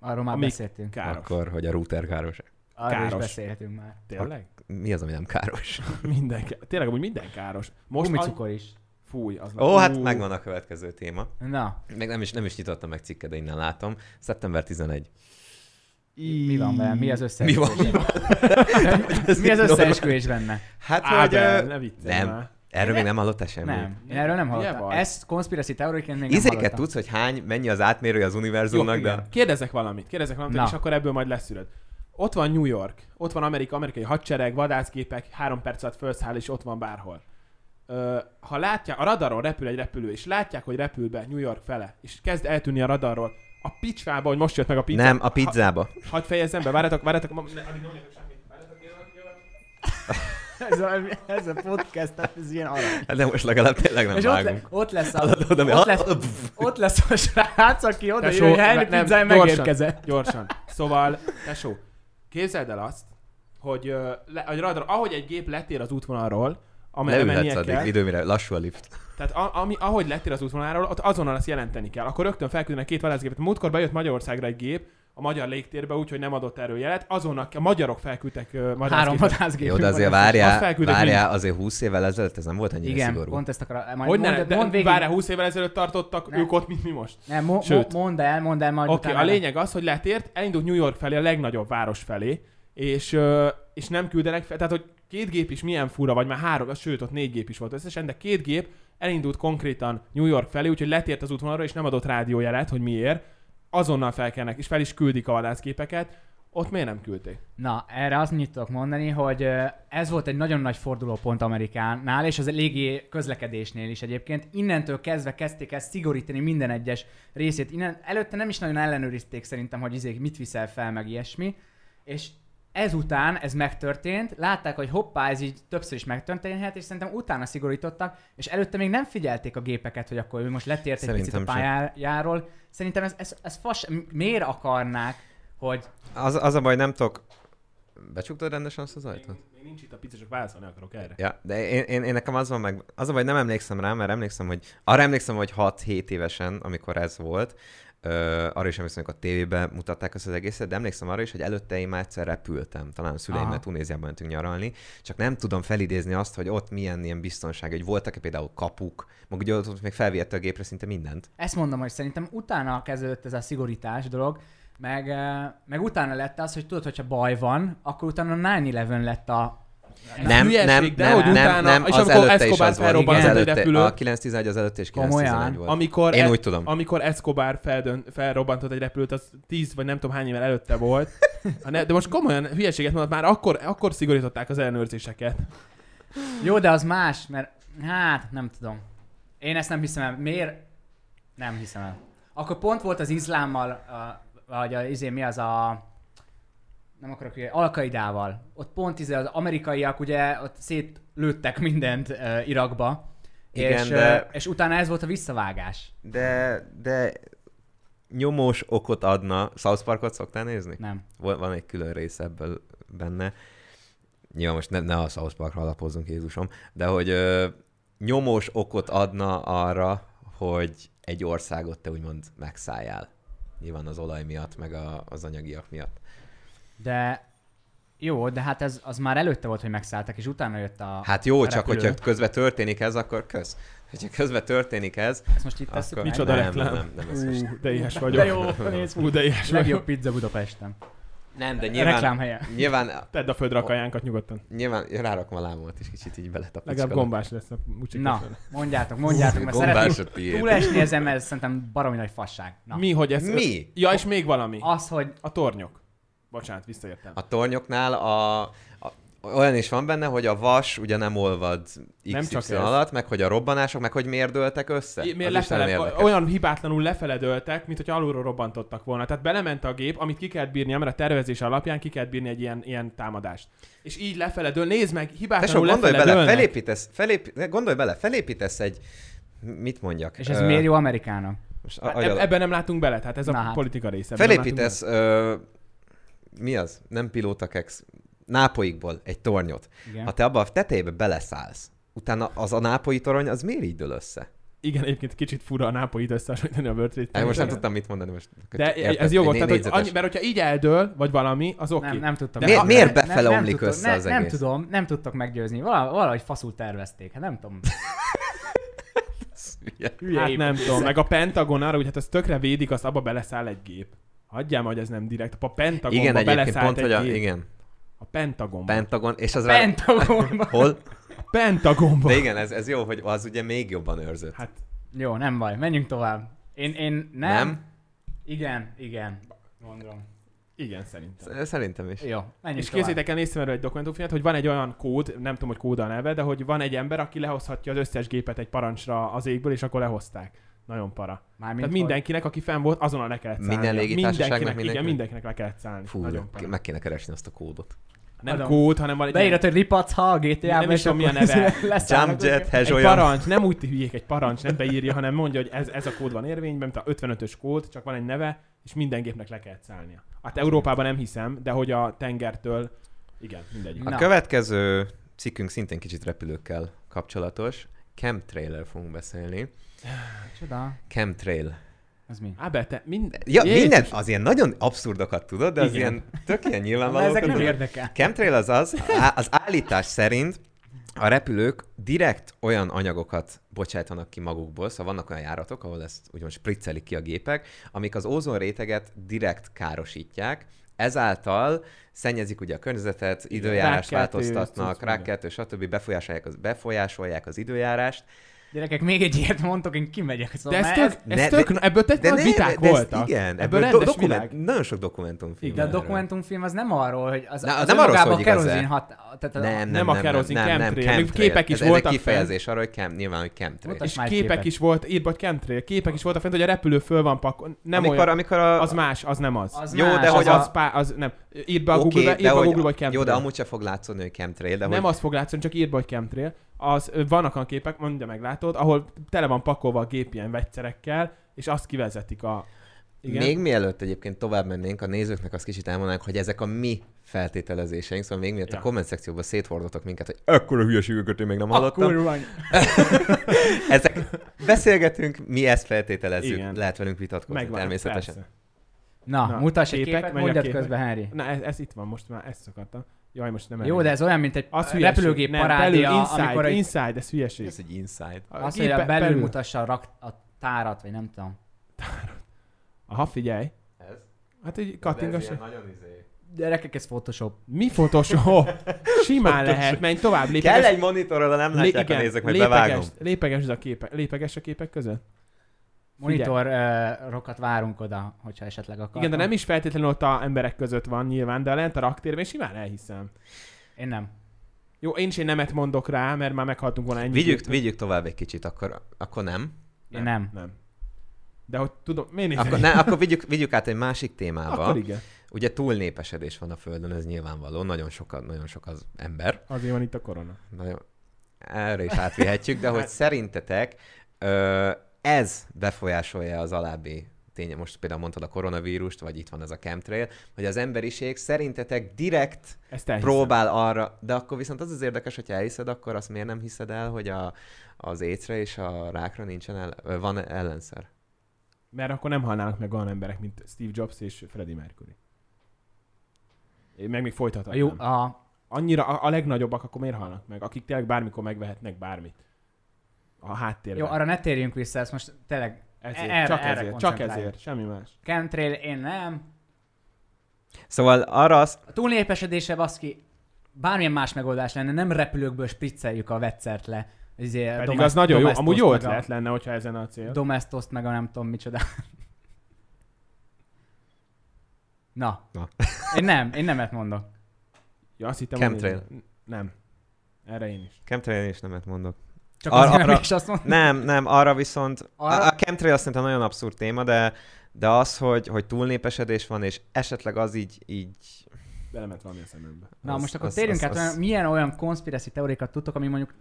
[SPEAKER 1] Arról már
[SPEAKER 3] Amik-
[SPEAKER 1] beszéltünk.
[SPEAKER 3] Káros.
[SPEAKER 2] akkor, hogy a router káros.
[SPEAKER 1] Arról is
[SPEAKER 3] káros.
[SPEAKER 1] beszéltünk már.
[SPEAKER 3] Tényleg?
[SPEAKER 2] Mi az, ami nem káros?
[SPEAKER 3] Minden, ká- tényleg, amúgy minden káros. Most an...
[SPEAKER 1] Gumicukor is.
[SPEAKER 3] Fúj, az
[SPEAKER 2] Ó, hát
[SPEAKER 3] Ú,
[SPEAKER 2] megvan a következő téma.
[SPEAKER 1] Na,
[SPEAKER 2] Még nem is, nem is nyitottam meg cikket, de innen látom. Szeptember 11.
[SPEAKER 1] mi van benne? Mi az
[SPEAKER 2] Mi van?
[SPEAKER 1] összeesküvés? mi az összeesküvés benne?
[SPEAKER 2] Hát,
[SPEAKER 3] Á,
[SPEAKER 2] hogy...
[SPEAKER 3] de,
[SPEAKER 2] ö,
[SPEAKER 3] ne viccelj
[SPEAKER 2] Nem.
[SPEAKER 3] már.
[SPEAKER 2] Erről még nem hallottál semmit.
[SPEAKER 1] Nem, én erről nem
[SPEAKER 3] Ugye
[SPEAKER 1] hallottam.
[SPEAKER 3] vagy?
[SPEAKER 1] Ezt konspiracy teóriként még nem
[SPEAKER 2] Izéket
[SPEAKER 1] hallottam.
[SPEAKER 2] tudsz, hogy hány, mennyi az átmérője az
[SPEAKER 3] Jó,
[SPEAKER 2] univerzumnak,
[SPEAKER 3] igen.
[SPEAKER 2] de...
[SPEAKER 3] Kérdezek valamit, kérdezek valamit,
[SPEAKER 1] Na.
[SPEAKER 3] és akkor ebből majd leszűröd. Ott van New York, ott van Amerika, amerikai hadsereg, vadászgépek, három perc alatt felszáll, és ott van bárhol. Ö, ha látják, a radaron repül egy repülő, és látják, hogy repül be New York fele, és kezd eltűnni a radarról, a picsvába, hogy most jött meg a pizza.
[SPEAKER 2] Nem, a
[SPEAKER 3] Ha,
[SPEAKER 2] pizzába.
[SPEAKER 3] hadd fejezzem be, várjatok, várjatok, ma, ne, addig nem mondjatok semmit. Várjatok, jövök, jövök.
[SPEAKER 1] Ez a, ez a podcast, ez ilyen alap.
[SPEAKER 2] Hát De most legalább tényleg nem
[SPEAKER 1] És ott, le,
[SPEAKER 2] vágunk.
[SPEAKER 1] ott lesz a,
[SPEAKER 2] Hallod, oda megy.
[SPEAKER 1] ott lesz, ott lesz a srác, aki oda jön, hogy Henry
[SPEAKER 3] nem,
[SPEAKER 1] Pizzán
[SPEAKER 3] gyorsan,
[SPEAKER 1] megérkezett.
[SPEAKER 3] Gyorsan. Szóval, tesó, képzeld el azt, hogy, ö, le, hogy radar, ahogy egy gép letér az útvonalról, amelyre
[SPEAKER 2] Leülhetsz
[SPEAKER 3] mennie kell,
[SPEAKER 2] addig, időmire lassú a lift.
[SPEAKER 3] tehát a, ami, ahogy letér az útvonaláról, ott azonnal ezt jelenteni kell. Akkor rögtön felküldenek két vadászgépet. Múltkor bejött Magyarországra egy gép, a magyar légtérbe, úgyhogy nem adott erőjelet. Azonnal a magyarok felküldtek ö,
[SPEAKER 1] Három
[SPEAKER 3] vadászgépet.
[SPEAKER 1] vadászgépünk
[SPEAKER 2] Jó, de
[SPEAKER 1] van.
[SPEAKER 2] azért
[SPEAKER 3] Azt
[SPEAKER 2] várjál,
[SPEAKER 3] felküldöd
[SPEAKER 2] várjál, azért 20 évvel ezelőtt ez nem volt ennyire
[SPEAKER 1] Igen,
[SPEAKER 2] szigorú.
[SPEAKER 1] pont ezt akar... Majd
[SPEAKER 3] Hogy
[SPEAKER 1] mondd,
[SPEAKER 3] ne, de
[SPEAKER 1] mondd végig.
[SPEAKER 3] várjál, 20 évvel ezelőtt tartottak
[SPEAKER 1] Nem.
[SPEAKER 3] ők ott, mint mi most.
[SPEAKER 1] Nem, mo-
[SPEAKER 3] Sőt.
[SPEAKER 1] mo- mondd el, mondd el, majd
[SPEAKER 3] Oké, okay,
[SPEAKER 1] utána.
[SPEAKER 3] a lényeg az, hogy letért, elindult New York felé, a legnagyobb város felé, és, ö, és nem küldenek fel, tehát hogy két gép is milyen fura, vagy már három, sőt ott négy gép is volt összesen, de két gép elindult konkrétan New York felé, úgyhogy letért az útvonalra, és nem adott rádiójelet, hogy miért, azonnal felkelnek, és fel is küldik a vadászgépeket, ott miért nem küldték?
[SPEAKER 1] Na, erre azt mit tudok mondani, hogy ö, ez volt egy nagyon nagy fordulópont Amerikánál, és az a légi közlekedésnél is egyébként. Innentől kezdve kezdték ezt szigorítani minden egyes részét. Innen, előtte nem is nagyon ellenőrizték szerintem, hogy izék mit viszel fel, meg ilyesmi. És ezután ez megtörtént, látták, hogy hoppá, ez így többször is megtörténhet, és szerintem utána szigorítottak, és előtte még nem figyelték a gépeket, hogy akkor ő most letért egy picit a
[SPEAKER 2] Szerintem sem.
[SPEAKER 1] pályájáról. Szerintem ez, ez, ez fas, m- miért akarnák, hogy
[SPEAKER 2] Az, az a baj, nem tudok... Becsuktad rendesen azt az
[SPEAKER 3] Még,
[SPEAKER 2] ajtót?
[SPEAKER 3] még nincs itt a pici, csak válaszolni akarok erre.
[SPEAKER 2] Ja, de én, én, én nekem az van meg, az a baj, nem emlékszem rá, mert emlékszem, hogy arra emlékszem, hogy 6-7 évesen, amikor ez volt, ö, arra is emlékszem, amikor a tévében mutatták ezt az egészet, de emlékszem arra is, hogy előtte én már egyszer repültem, talán a szüleimmel
[SPEAKER 1] Aha.
[SPEAKER 2] Tunéziában mentünk nyaralni, csak nem tudom felidézni azt, hogy ott milyen ilyen biztonság, hogy voltak-e például kapuk, meg ugye ott ott még felvihette a gépre szinte mindent.
[SPEAKER 1] Ezt mondom, hogy szerintem utána kezdődött ez a szigorítás dolog, meg, eh, meg utána lett az, hogy tudod, hogyha baj van, akkor utána 9-11 lett a...
[SPEAKER 2] Nem,
[SPEAKER 3] hülyeség,
[SPEAKER 2] nem,
[SPEAKER 3] de
[SPEAKER 2] nem,
[SPEAKER 3] hogy
[SPEAKER 2] nem,
[SPEAKER 3] utána-
[SPEAKER 2] nem,
[SPEAKER 3] és
[SPEAKER 2] az
[SPEAKER 3] amikor
[SPEAKER 2] előtte is
[SPEAKER 3] Escobar
[SPEAKER 2] az volt.
[SPEAKER 1] felrobbant
[SPEAKER 2] Az
[SPEAKER 3] egy
[SPEAKER 2] előtte,
[SPEAKER 3] repülőt.
[SPEAKER 2] a 911 az előtte is 911
[SPEAKER 1] Komolyan?
[SPEAKER 2] volt.
[SPEAKER 3] Amikor, e-
[SPEAKER 2] Én
[SPEAKER 3] Ez-
[SPEAKER 2] úgy tudom.
[SPEAKER 3] amikor Escobar feldön, felrobbantott egy repülőt, az 10 vagy nem tudom hány évvel előtte volt. Ha ne, de most komolyan hülyeséget mondott, már akkor, akkor szigorították az ellenőrzéseket.
[SPEAKER 1] Jó, de az más, mert hát nem tudom. Én ezt nem hiszem el. Miért? Nem hiszem el. Akkor pont volt az izlámmal, a, vagy az izé, mi az a... Nem akarok, hogy Alkaidával. Ott pont izé, az amerikaiak ugye ott szétlőttek mindent uh, Irakba.
[SPEAKER 2] Igen,
[SPEAKER 1] és,
[SPEAKER 2] de-
[SPEAKER 1] eh, és utána ez volt a visszavágás.
[SPEAKER 2] De, de nyomós okot adna. South Parkot szoktál nézni?
[SPEAKER 1] Nem.
[SPEAKER 2] Van, van egy külön rész ebből benne. Nyilván most ne, ne a South Parkra alapozzunk, Jézusom, de hogy ö, nyomós okot adna arra, hogy egy országot te úgymond megszálljál. Nyilván az olaj miatt, meg a, az anyagiak miatt.
[SPEAKER 1] De jó, de hát ez az már előtte volt, hogy megszálltak, és utána jött a...
[SPEAKER 2] Hát jó,
[SPEAKER 1] a
[SPEAKER 2] csak
[SPEAKER 1] repülő.
[SPEAKER 2] hogyha közben történik ez, akkor kösz. Hogyha közben történik ez,
[SPEAKER 1] Ezt most itt tesszük
[SPEAKER 2] akkor...
[SPEAKER 1] meg?
[SPEAKER 3] Micsoda
[SPEAKER 2] nem, nem,
[SPEAKER 3] reklám.
[SPEAKER 2] nem, nem, ez most...
[SPEAKER 3] Ú, de ilyes
[SPEAKER 1] De
[SPEAKER 3] vagyok.
[SPEAKER 1] jó, nézd,
[SPEAKER 3] Ú, de ilyes
[SPEAKER 1] legjobb
[SPEAKER 3] vagyok.
[SPEAKER 1] pizza Budapesten.
[SPEAKER 2] nem, de
[SPEAKER 1] Nyilván...
[SPEAKER 2] nyilván,
[SPEAKER 1] Reklámhelye.
[SPEAKER 2] nyilván
[SPEAKER 3] Tedd a földre a kajánkat nyugodtan.
[SPEAKER 2] Nyilván ja, rárakom a lábomat is kicsit így beletapicsolok.
[SPEAKER 3] Legalább gombás lesz a mucsikos.
[SPEAKER 1] Na, mondjátok, mondjátok, mert
[SPEAKER 2] Gombás
[SPEAKER 1] szeretném
[SPEAKER 2] a tiéd.
[SPEAKER 1] túlesni ezen, mert ez szerintem baromi nagy fasság. Na,
[SPEAKER 3] Mi, hogy ez...
[SPEAKER 2] Mi?
[SPEAKER 3] Ja, és még valami.
[SPEAKER 1] az, hogy
[SPEAKER 3] A tornyok. Bocsánat, visszaértem.
[SPEAKER 2] A tornyoknál a, a, olyan is van benne, hogy a vas ugye nem olvad XY
[SPEAKER 3] Nem csak ez.
[SPEAKER 2] alatt, meg hogy a robbanások, meg hogy miért dőltek össze.
[SPEAKER 3] I- Miért
[SPEAKER 2] Az is nagyon
[SPEAKER 3] lefele,
[SPEAKER 2] érdekes.
[SPEAKER 3] olyan hibátlanul lefeledöltek, mint hogy alulról robbantottak volna. Tehát belement a gép, amit ki kellett bírni, mert a tervezés alapján ki kellett bírni egy ilyen, ilyen támadást. És így lefeledől, nézd meg,
[SPEAKER 2] Tesó,
[SPEAKER 3] hibátlanul
[SPEAKER 2] gondolj bele,
[SPEAKER 3] lefeledölnek.
[SPEAKER 2] felépítesz, felép, gondolj bele, felépítesz egy mit mondjak?
[SPEAKER 1] és ez
[SPEAKER 2] Ö,
[SPEAKER 1] miért jó Amerikának?
[SPEAKER 2] Most
[SPEAKER 3] Hát
[SPEAKER 2] agyal-
[SPEAKER 3] eb- ebben nem látunk bele, tehát ez a
[SPEAKER 1] Na hát.
[SPEAKER 3] politika része. ebben nem
[SPEAKER 2] Felépítesz, ö, mi az? Nem pilótakex. Nápoikból egy tornyot.
[SPEAKER 1] Igen.
[SPEAKER 2] Ha te abba a tetejébe beleszállsz, utána az a nápoi torony, az miért így dől össze?
[SPEAKER 3] bele. Igen, egyébként kicsit fura a nápoit összehasonlítani a World Trade
[SPEAKER 2] Én Hát most nem
[SPEAKER 3] Center-rel.
[SPEAKER 2] tudtam mit mondani most.
[SPEAKER 3] De
[SPEAKER 2] Érted?
[SPEAKER 3] ez jó volt,
[SPEAKER 2] Né-
[SPEAKER 3] tehát, hogy
[SPEAKER 2] négyzetes.
[SPEAKER 3] annyi, mert hogyha így eldől, vagy valami, az oké. Hát
[SPEAKER 1] Nem, nem tudtam.
[SPEAKER 3] De
[SPEAKER 1] meg-
[SPEAKER 3] mi-
[SPEAKER 2] miért
[SPEAKER 1] nem-
[SPEAKER 2] befele
[SPEAKER 1] nem
[SPEAKER 2] omlik
[SPEAKER 1] tudtam-
[SPEAKER 2] össze
[SPEAKER 1] ne-
[SPEAKER 2] az
[SPEAKER 1] Nem
[SPEAKER 2] egész?
[SPEAKER 1] tudom, nem tudtok meggyőzni. Vala- Valahogy faszul tervezték, hát nem tudom.
[SPEAKER 3] Hát nem tudom, meg a Pentagon arra, hogy hát az tökre védik, azt abba beleszáll egy gép. Hagyjál, hogy ez nem direkt. A Pentagonba
[SPEAKER 2] Igen, egyébként
[SPEAKER 3] beleszállt
[SPEAKER 2] pont,
[SPEAKER 3] egy
[SPEAKER 2] hogy a,
[SPEAKER 3] gép.
[SPEAKER 2] igen,
[SPEAKER 3] A Pentagonba.
[SPEAKER 2] Pentagon, és az rá...
[SPEAKER 1] Pentagonban.
[SPEAKER 2] Hol?
[SPEAKER 3] Pentagonba.
[SPEAKER 2] De igen, ez, ez jó, hogy az ugye még jobban őrzött.
[SPEAKER 3] Hát
[SPEAKER 1] Jó, nem baj, menjünk tovább. Én, én nem.
[SPEAKER 2] Nem?
[SPEAKER 1] Igen, igen. Mondom.
[SPEAKER 3] igen, szerintem.
[SPEAKER 2] Sz- Szerintem is.
[SPEAKER 1] Jó, menjünk
[SPEAKER 3] És
[SPEAKER 1] tovább.
[SPEAKER 3] készítek el, néztem erről egy dokumentumfilmet, hogy van egy olyan kód, nem tudom, hogy kód a neve, de hogy van egy ember, aki lehozhatja az összes gépet egy parancsra az égből, és akkor lehozták. Nagyon para.
[SPEAKER 1] Mármint
[SPEAKER 3] Tehát
[SPEAKER 1] hogy-
[SPEAKER 3] mindenkinek, aki fenn volt, azonnal le kellett
[SPEAKER 2] Minden
[SPEAKER 3] szállni.
[SPEAKER 2] légitársaságnak
[SPEAKER 3] mindenkinek, igen,
[SPEAKER 2] mindenkinek?
[SPEAKER 3] mindenkinek le kellett szállni.
[SPEAKER 2] Fú,
[SPEAKER 3] Nagyon
[SPEAKER 2] Nagyon
[SPEAKER 3] para.
[SPEAKER 2] meg kéne keresni azt a kódot.
[SPEAKER 3] Nem
[SPEAKER 1] Adam.
[SPEAKER 3] kód, hanem van egy
[SPEAKER 1] Beírod, hogy ripacha a GTA-ba,
[SPEAKER 3] Nem is
[SPEAKER 1] és
[SPEAKER 3] tudom, mi a
[SPEAKER 1] akkor
[SPEAKER 3] neve.
[SPEAKER 1] leszállnak
[SPEAKER 2] Jumpjet,
[SPEAKER 1] ők.
[SPEAKER 2] Hezs
[SPEAKER 3] egy
[SPEAKER 2] olyan.
[SPEAKER 3] parancs, nem úgy hülyék egy parancs, nem beírja, hanem mondja, hogy ez, ez a kód van érvényben, mint a 55-ös kód, csak van egy neve, és minden gépnek le kellett szállnia. Hát Európában nem hiszem, de hogy a tengertől, igen, mindegy.
[SPEAKER 2] A
[SPEAKER 1] Na.
[SPEAKER 2] következő cikkünk szintén kicsit repülőkkel kapcsolatos. Chemtrailer fogunk beszélni.
[SPEAKER 1] Csoda,
[SPEAKER 2] Chemtrail.
[SPEAKER 1] ez mi?
[SPEAKER 3] Ábel, te minden...
[SPEAKER 2] Ja,
[SPEAKER 3] Jézus.
[SPEAKER 2] minden, az ilyen nagyon abszurdokat tudod, de az
[SPEAKER 3] Igen.
[SPEAKER 2] ilyen
[SPEAKER 1] Na,
[SPEAKER 2] tök ilyen
[SPEAKER 1] ezek nem
[SPEAKER 2] nyilvánvalókat.
[SPEAKER 1] érdekel.
[SPEAKER 2] Chemtrail az az, á- az állítás szerint a repülők direkt olyan anyagokat bocsájtanak ki magukból, szóval vannak olyan járatok, ahol ezt úgymond spriccelik ki a gépek, amik az ózonréteget direkt károsítják, ezáltal szennyezik ugye a környezetet, időjárást
[SPEAKER 3] rákkeltő,
[SPEAKER 2] változtatnak,
[SPEAKER 3] cucc, minden.
[SPEAKER 2] rákkeltő, stb. Befolyásolják az, befolyásolják az időjárást,
[SPEAKER 1] Gyerekek, még egy ilyet mondtok, én kimegyek.
[SPEAKER 3] De
[SPEAKER 1] Szóval
[SPEAKER 3] ez
[SPEAKER 1] már
[SPEAKER 3] tök, ez
[SPEAKER 2] ne-
[SPEAKER 3] tök ebből tök nagy Hát viták
[SPEAKER 2] de ezt
[SPEAKER 3] voltak.
[SPEAKER 2] Igen, ebből,
[SPEAKER 3] ebből
[SPEAKER 2] ebből
[SPEAKER 3] rendes
[SPEAKER 2] do- dokument,
[SPEAKER 3] világ.
[SPEAKER 2] nagyon sok dokumentumfilm.
[SPEAKER 1] de a
[SPEAKER 2] van erről.
[SPEAKER 1] dokumentumfilm az nem arról, hogy az,
[SPEAKER 2] Na,
[SPEAKER 1] az,
[SPEAKER 2] az
[SPEAKER 1] az
[SPEAKER 2] nem arról szól,
[SPEAKER 1] önmagában a
[SPEAKER 2] hogy igaz-e.
[SPEAKER 1] kerozin hat... Tehát a,
[SPEAKER 2] Nem, nem,
[SPEAKER 3] Nem
[SPEAKER 2] nem,
[SPEAKER 3] a
[SPEAKER 2] nem,
[SPEAKER 3] kerozin,
[SPEAKER 2] nem, nem,
[SPEAKER 3] chemtrail. Még
[SPEAKER 2] chemtrail.
[SPEAKER 3] képek is
[SPEAKER 2] ez, ez egy
[SPEAKER 3] voltak
[SPEAKER 2] kifejezés arra, hogy chem, nyilván, hogy chemtrail.
[SPEAKER 1] Mutasd
[SPEAKER 3] És
[SPEAKER 1] már egy
[SPEAKER 3] képek
[SPEAKER 1] képet.
[SPEAKER 3] is volt, írt vagy chemtrail, képek is voltak fent, hogy a repülő föl van pakol. Nem
[SPEAKER 2] amikor,
[SPEAKER 3] olyan,
[SPEAKER 2] amikor a,
[SPEAKER 3] az más, az nem az.
[SPEAKER 1] Az
[SPEAKER 2] Jó,
[SPEAKER 1] más,
[SPEAKER 2] de
[SPEAKER 3] Az,
[SPEAKER 2] hogy
[SPEAKER 1] a-
[SPEAKER 3] az, az, pá, az nem. Írd be a
[SPEAKER 2] Oké,
[SPEAKER 3] Google-be,
[SPEAKER 2] de
[SPEAKER 3] írd be a
[SPEAKER 2] hogy-
[SPEAKER 3] Google-ba, hogy
[SPEAKER 2] Jó,
[SPEAKER 3] chemtrail.
[SPEAKER 2] de amúgy se fog látszódni, hogy chemtrail, de
[SPEAKER 3] nem
[SPEAKER 2] hogy...
[SPEAKER 3] az fog látszani, csak írd be, hogy chemtrail. Az, ö, vannak olyan képek, mondja meg, látod, ahol tele van pakolva a gép ilyen vegyszerekkel, és azt kivezetik a... Igen.
[SPEAKER 2] Még mielőtt egyébként tovább mennénk, a nézőknek azt kicsit elmondanánk, hogy ezek a mi feltételezéseink, szóval még mielőtt
[SPEAKER 3] Ja.
[SPEAKER 2] a komment szekcióban széthordotok minket, hogy ekkora hülyeségeket én még nem hallottam.
[SPEAKER 3] Akkor van.
[SPEAKER 2] Ezek beszélgetünk, mi ezt feltételezzük,
[SPEAKER 3] Igen.
[SPEAKER 2] Igen. lehet velünk vitatkozni
[SPEAKER 3] Megvan,
[SPEAKER 2] természetesen.
[SPEAKER 3] Persze.
[SPEAKER 1] Na,
[SPEAKER 3] Na,
[SPEAKER 1] Na mutass egy
[SPEAKER 3] képek,
[SPEAKER 1] képet,
[SPEAKER 3] menj a
[SPEAKER 1] mondjad
[SPEAKER 3] képek.
[SPEAKER 1] közben, Henry.
[SPEAKER 3] Na, ez, ez, itt van most már, ezt szokattam. Jaj, most nem
[SPEAKER 1] Jó,
[SPEAKER 3] elég.
[SPEAKER 1] de ez olyan, mint egy
[SPEAKER 3] az hülyeség.
[SPEAKER 1] repülőgép
[SPEAKER 3] Nem,
[SPEAKER 1] parádia,
[SPEAKER 3] belül, inside,
[SPEAKER 1] amikor egy,
[SPEAKER 3] inside, ez hülyeség.
[SPEAKER 2] Ez egy insight.
[SPEAKER 3] A
[SPEAKER 1] azt, hogy
[SPEAKER 3] gépe-
[SPEAKER 1] a belül, belül mutassa a, rak, a tárat, vagy nem tudom.
[SPEAKER 3] Aha, figyelj.
[SPEAKER 2] Ez?
[SPEAKER 3] Hát egy kattingas.
[SPEAKER 2] nagyon izé.
[SPEAKER 1] Gyerekek, ez Photoshop.
[SPEAKER 3] Mi Photoshop? Simán lehet, menj tovább,
[SPEAKER 2] Kell
[SPEAKER 3] lépeges.
[SPEAKER 2] egy monitor, oda nem
[SPEAKER 3] lé-
[SPEAKER 2] látják a nézők, majd
[SPEAKER 3] lépeges,
[SPEAKER 2] bevágom.
[SPEAKER 3] lépeges, a képek, lépeges a képek között?
[SPEAKER 1] Monitor uh, rokat várunk oda, hogyha esetleg akartok.
[SPEAKER 3] Igen, de nem is feltétlenül ott a emberek között van nyilván, de lent a raktérben simán elhiszem.
[SPEAKER 1] Én nem.
[SPEAKER 3] Jó, én is egy nemet mondok rá, mert már meghaltunk volna ennyi.
[SPEAKER 2] Vigyük,
[SPEAKER 3] időt.
[SPEAKER 2] vigyük tovább egy kicsit, akkor, akkor nem.
[SPEAKER 1] Én nem.
[SPEAKER 3] Nem. De hogy tudom, miért nézel
[SPEAKER 2] Akkor,
[SPEAKER 3] így?
[SPEAKER 2] ne, akkor vigyük, vigyük át egy másik témába.
[SPEAKER 3] Akkor igen.
[SPEAKER 2] Ugye túlnépesedés van a Földön, ez nyilvánvaló. Nagyon sok, a- nagyon sok az ember.
[SPEAKER 3] Azért van itt a korona.
[SPEAKER 2] Nagyon... Erre is átvihetjük, de
[SPEAKER 3] Hát.
[SPEAKER 2] hogy szerintetek ö, ez befolyásolja az alábbi tény, most például mondtad a koronavírust, vagy itt van ez a chemtrail, hogy az emberiség szerintetek direkt
[SPEAKER 3] Ezt elhiszem.
[SPEAKER 2] próbál arra, de akkor viszont az az érdekes, hogy elhiszed, akkor azt miért nem hiszed el, hogy a, az écre és a rákra nincsen el, ö, van ellenszer?
[SPEAKER 3] Mert akkor nem halnának meg olyan emberek, mint Steve Jobs és Freddie Mercury. Én meg még
[SPEAKER 1] A,
[SPEAKER 3] folytathatnám.
[SPEAKER 1] jó, a,
[SPEAKER 3] Annyira a, a legnagyobbak akkor miért halnak meg? Akik tényleg bármikor megvehetnek bármit. A háttérben.
[SPEAKER 1] jó, arra ne térjünk vissza, ezt most tényleg
[SPEAKER 3] ezért,
[SPEAKER 1] erre-
[SPEAKER 3] csak
[SPEAKER 1] erre
[SPEAKER 3] ezért, csak
[SPEAKER 1] koncentrálj.
[SPEAKER 3] ezért, semmi más.
[SPEAKER 1] chemtrail, én nem.
[SPEAKER 2] Szóval arra azt,
[SPEAKER 1] A túlnépesedése baszki, bármilyen más megoldás lenne, nem repülőkből spricceljük a veccert le. Izé, a
[SPEAKER 3] Pedig
[SPEAKER 1] domest-
[SPEAKER 3] az nagyon jó,
[SPEAKER 1] domestos
[SPEAKER 3] amúgy jó
[SPEAKER 1] meg a-
[SPEAKER 3] ötlet lenne, hogyha ezen a cél.
[SPEAKER 1] Domestoszt meg a nem tudom micsoda. Na.
[SPEAKER 2] Na.
[SPEAKER 1] Én nem, én nemet mondok.
[SPEAKER 3] ja, azt hittem,
[SPEAKER 2] Chemtrail.
[SPEAKER 3] hogy- Nem. Erre én is.
[SPEAKER 2] chemtrail is nemet mondok.
[SPEAKER 1] Csak
[SPEAKER 2] Ar-
[SPEAKER 1] azért, arra...
[SPEAKER 2] arra-
[SPEAKER 1] is azt mondom.
[SPEAKER 2] Nem, nem, arra viszont,
[SPEAKER 1] Arra-
[SPEAKER 2] arra... a chemtrail azt szerintem nagyon abszurd téma, de, de az, hogy, hogy túlnépesedés van, és esetleg az így, így
[SPEAKER 3] Belement valami a szemembe.
[SPEAKER 1] Na
[SPEAKER 2] az-
[SPEAKER 1] most akkor
[SPEAKER 2] az-
[SPEAKER 1] térjünk
[SPEAKER 2] az-
[SPEAKER 1] át,
[SPEAKER 2] az-
[SPEAKER 1] olyan- milyen olyan konspiracy teórikat tudtok, ami mondjuk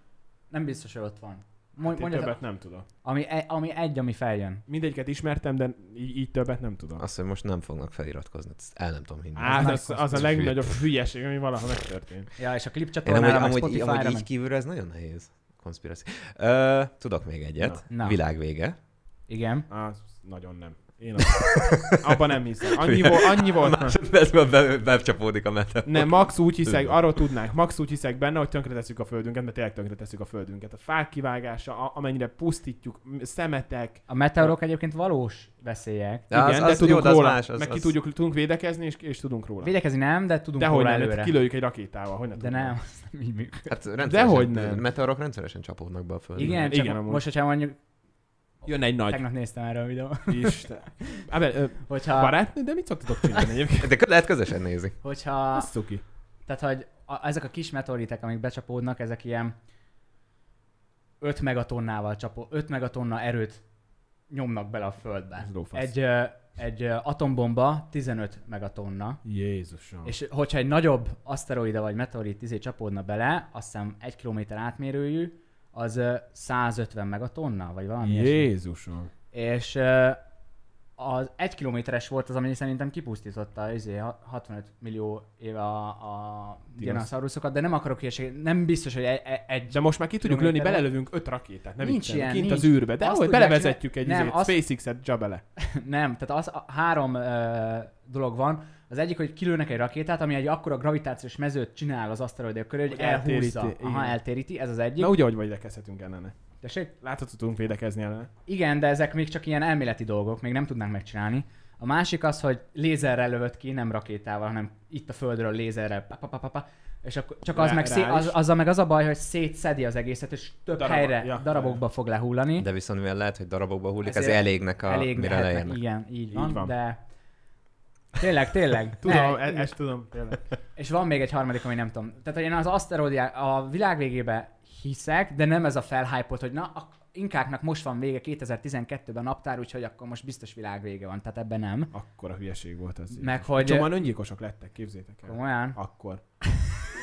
[SPEAKER 1] nem biztos, hogy ott van. Mond,
[SPEAKER 3] Hát én
[SPEAKER 1] mondja,
[SPEAKER 3] többet nem tudom.
[SPEAKER 1] ami, e- ami egy, ami feljön.
[SPEAKER 3] Mindegyiket ismertem, de így, így többet nem tudom.
[SPEAKER 2] azt, hogy most nem fognak feliratkozni, ezt el nem tudom hinni.
[SPEAKER 3] Á,
[SPEAKER 1] nagy
[SPEAKER 3] az, az, az a
[SPEAKER 1] koncepció.
[SPEAKER 3] legnagyobb hülyeség, ami valaha megtörtént.
[SPEAKER 1] Ja, és a klip
[SPEAKER 2] Én amúgy,
[SPEAKER 1] csatornára, meg
[SPEAKER 2] amúgy, í-
[SPEAKER 1] Spotify-ra,
[SPEAKER 2] amúgy így
[SPEAKER 1] meg...
[SPEAKER 2] kívülről ez nagyon nehéz. Konspiracy. Ö, tudok még egyet.
[SPEAKER 1] Na. Na.
[SPEAKER 2] Na. Világvége.
[SPEAKER 1] Igen.
[SPEAKER 3] Az nagyon nem. Én azt, abban nem hiszem. Annyi, vo- annyi volt. már.
[SPEAKER 2] Másodpercben be, becsapódik a meta.
[SPEAKER 3] Nem, max úgy hiszek, arról tudnánk, max úgy hiszek benne, hogy tönkretesszük a földünket, mert tényleg tönkretesszük a földünket. A fák kivágása, a- amennyire pusztítjuk, m- szemetek,
[SPEAKER 1] A meteorok egyébként valós veszélyek.
[SPEAKER 2] De az,
[SPEAKER 3] igen,
[SPEAKER 2] az,
[SPEAKER 3] de tudunk
[SPEAKER 2] jó, de az
[SPEAKER 3] róla,
[SPEAKER 2] más, az,
[SPEAKER 3] meg ki
[SPEAKER 2] az...
[SPEAKER 3] tudjuk, tudunk védekezni, és, és tudunk róla.
[SPEAKER 1] Védekezni nem, de tudunk
[SPEAKER 3] Dehogy
[SPEAKER 1] róla
[SPEAKER 3] nem,
[SPEAKER 1] előre.
[SPEAKER 3] előre. kilőjük egy rakétával, hogy ne
[SPEAKER 1] De
[SPEAKER 3] tudnánk.
[SPEAKER 1] nem, az nem így működik.
[SPEAKER 2] Hát rendszeresen,
[SPEAKER 3] Dehogy nem.
[SPEAKER 2] Meteorok rendszeresen csapódnak be a földön.
[SPEAKER 1] Igen, csak
[SPEAKER 3] Igen, amúgy.
[SPEAKER 1] most, hogyha mondjuk,
[SPEAKER 3] Jön egy nagy.
[SPEAKER 1] tegnap néztem erre a videót,
[SPEAKER 3] Isten. Ábel, ö,
[SPEAKER 1] hogyha,
[SPEAKER 3] barátnő, de mit szoktatok csinálni egyébként?
[SPEAKER 2] De kö- lehet közösen nézi.
[SPEAKER 1] hogyha
[SPEAKER 3] Azt szuki.
[SPEAKER 1] Tehát, hogy a, ezek a kis meteoritek, amik becsapódnak, ezek ilyen 5 megatonnával csapó, 5 megatonna erőt nyomnak bele a földbe.
[SPEAKER 3] Ez lófasz.
[SPEAKER 1] Egy, ö, egy ö, atombomba 15 megatonna,
[SPEAKER 3] Jézusom.
[SPEAKER 1] és hogyha egy nagyobb aszteroida vagy meteorit izé csapódna bele, azt hiszem 1 km átmérőjű, az ö, 150 megatonna, vagy valami ilyesmi.
[SPEAKER 3] Jézusom.
[SPEAKER 1] És ö, az egy kilométeres volt az, ami szerintem kipusztította izé, ha- 65 millió éve a, a dinoszauruszokat, de nem akarok hülyeség, nem biztos, hogy e- e- egy...
[SPEAKER 3] De most már ki tudjuk lőni,
[SPEAKER 1] Kilométerre.
[SPEAKER 3] belelövünk öt rakétát, nem
[SPEAKER 1] Nincs
[SPEAKER 3] nincs
[SPEAKER 1] ilyen,
[SPEAKER 3] ilyen, kint
[SPEAKER 1] nincs.
[SPEAKER 3] az űrbe, de
[SPEAKER 1] Azt
[SPEAKER 3] hogy
[SPEAKER 1] tudják
[SPEAKER 3] belevezetjük egy
[SPEAKER 1] csinálni.
[SPEAKER 3] nem,
[SPEAKER 1] Nem, azt-
[SPEAKER 3] SpaceX-et Jabele.
[SPEAKER 1] Nem, tehát az a három ö, dolog van. Az egyik, hogy kilőnek egy rakétát, ami egy akkora gravitációs mezőt csinál az aszteroidok körül, hogy,
[SPEAKER 3] Hogy
[SPEAKER 1] elhúzza.
[SPEAKER 3] eltéríti,
[SPEAKER 1] Aha,
[SPEAKER 3] igen.
[SPEAKER 1] eltéríti, ez az egyik.
[SPEAKER 3] Na ugye, hogy védekezhetünk ellene.
[SPEAKER 1] Tessék?
[SPEAKER 3] Látható tudunk védekezni ellene.
[SPEAKER 1] Igen, de ezek még csak ilyen elméleti dolgok, még nem tudnánk megcsinálni. A másik az, hogy lézerrel lövött ki, nem rakétával, hanem itt a földről lézerrel. Pa, pa, pa, pa, pa. És akkor csak az,
[SPEAKER 3] Rá-
[SPEAKER 1] meg szé-
[SPEAKER 3] rá is.
[SPEAKER 1] az, azzal meg az a baj, hogy szétszedi az egészet, és több
[SPEAKER 3] Darab-
[SPEAKER 1] helyre,
[SPEAKER 3] ja.
[SPEAKER 1] darabokba fog lehullani.
[SPEAKER 2] De viszont mivel lehet, hogy darabokba hullik, ez
[SPEAKER 1] Ezért
[SPEAKER 2] elégnek, a,
[SPEAKER 1] elég
[SPEAKER 2] mire
[SPEAKER 1] lehetnek.
[SPEAKER 2] leérnek.
[SPEAKER 1] Igen, így van,
[SPEAKER 3] Így van.
[SPEAKER 1] de... Tényleg, tényleg.
[SPEAKER 3] Tudom,
[SPEAKER 1] Ne,
[SPEAKER 3] e- ezt tudom, tényleg.
[SPEAKER 1] És van még egy harmadik, ami nem tudom. Tehát, hogy én az aszteroidiák a világ végébe hiszek, de nem ez a felhypolt, hogy na, a inkáknak most van vége 2012-ben a naptár, úgyhogy akkor most biztos világ vége van. Tehát ebben nem.
[SPEAKER 3] Akkor a hülyeség volt az.
[SPEAKER 1] Meg hogy...
[SPEAKER 3] Csomóan öngyilkosok lettek, képzétek el.
[SPEAKER 1] Komolyan.
[SPEAKER 3] Akkor.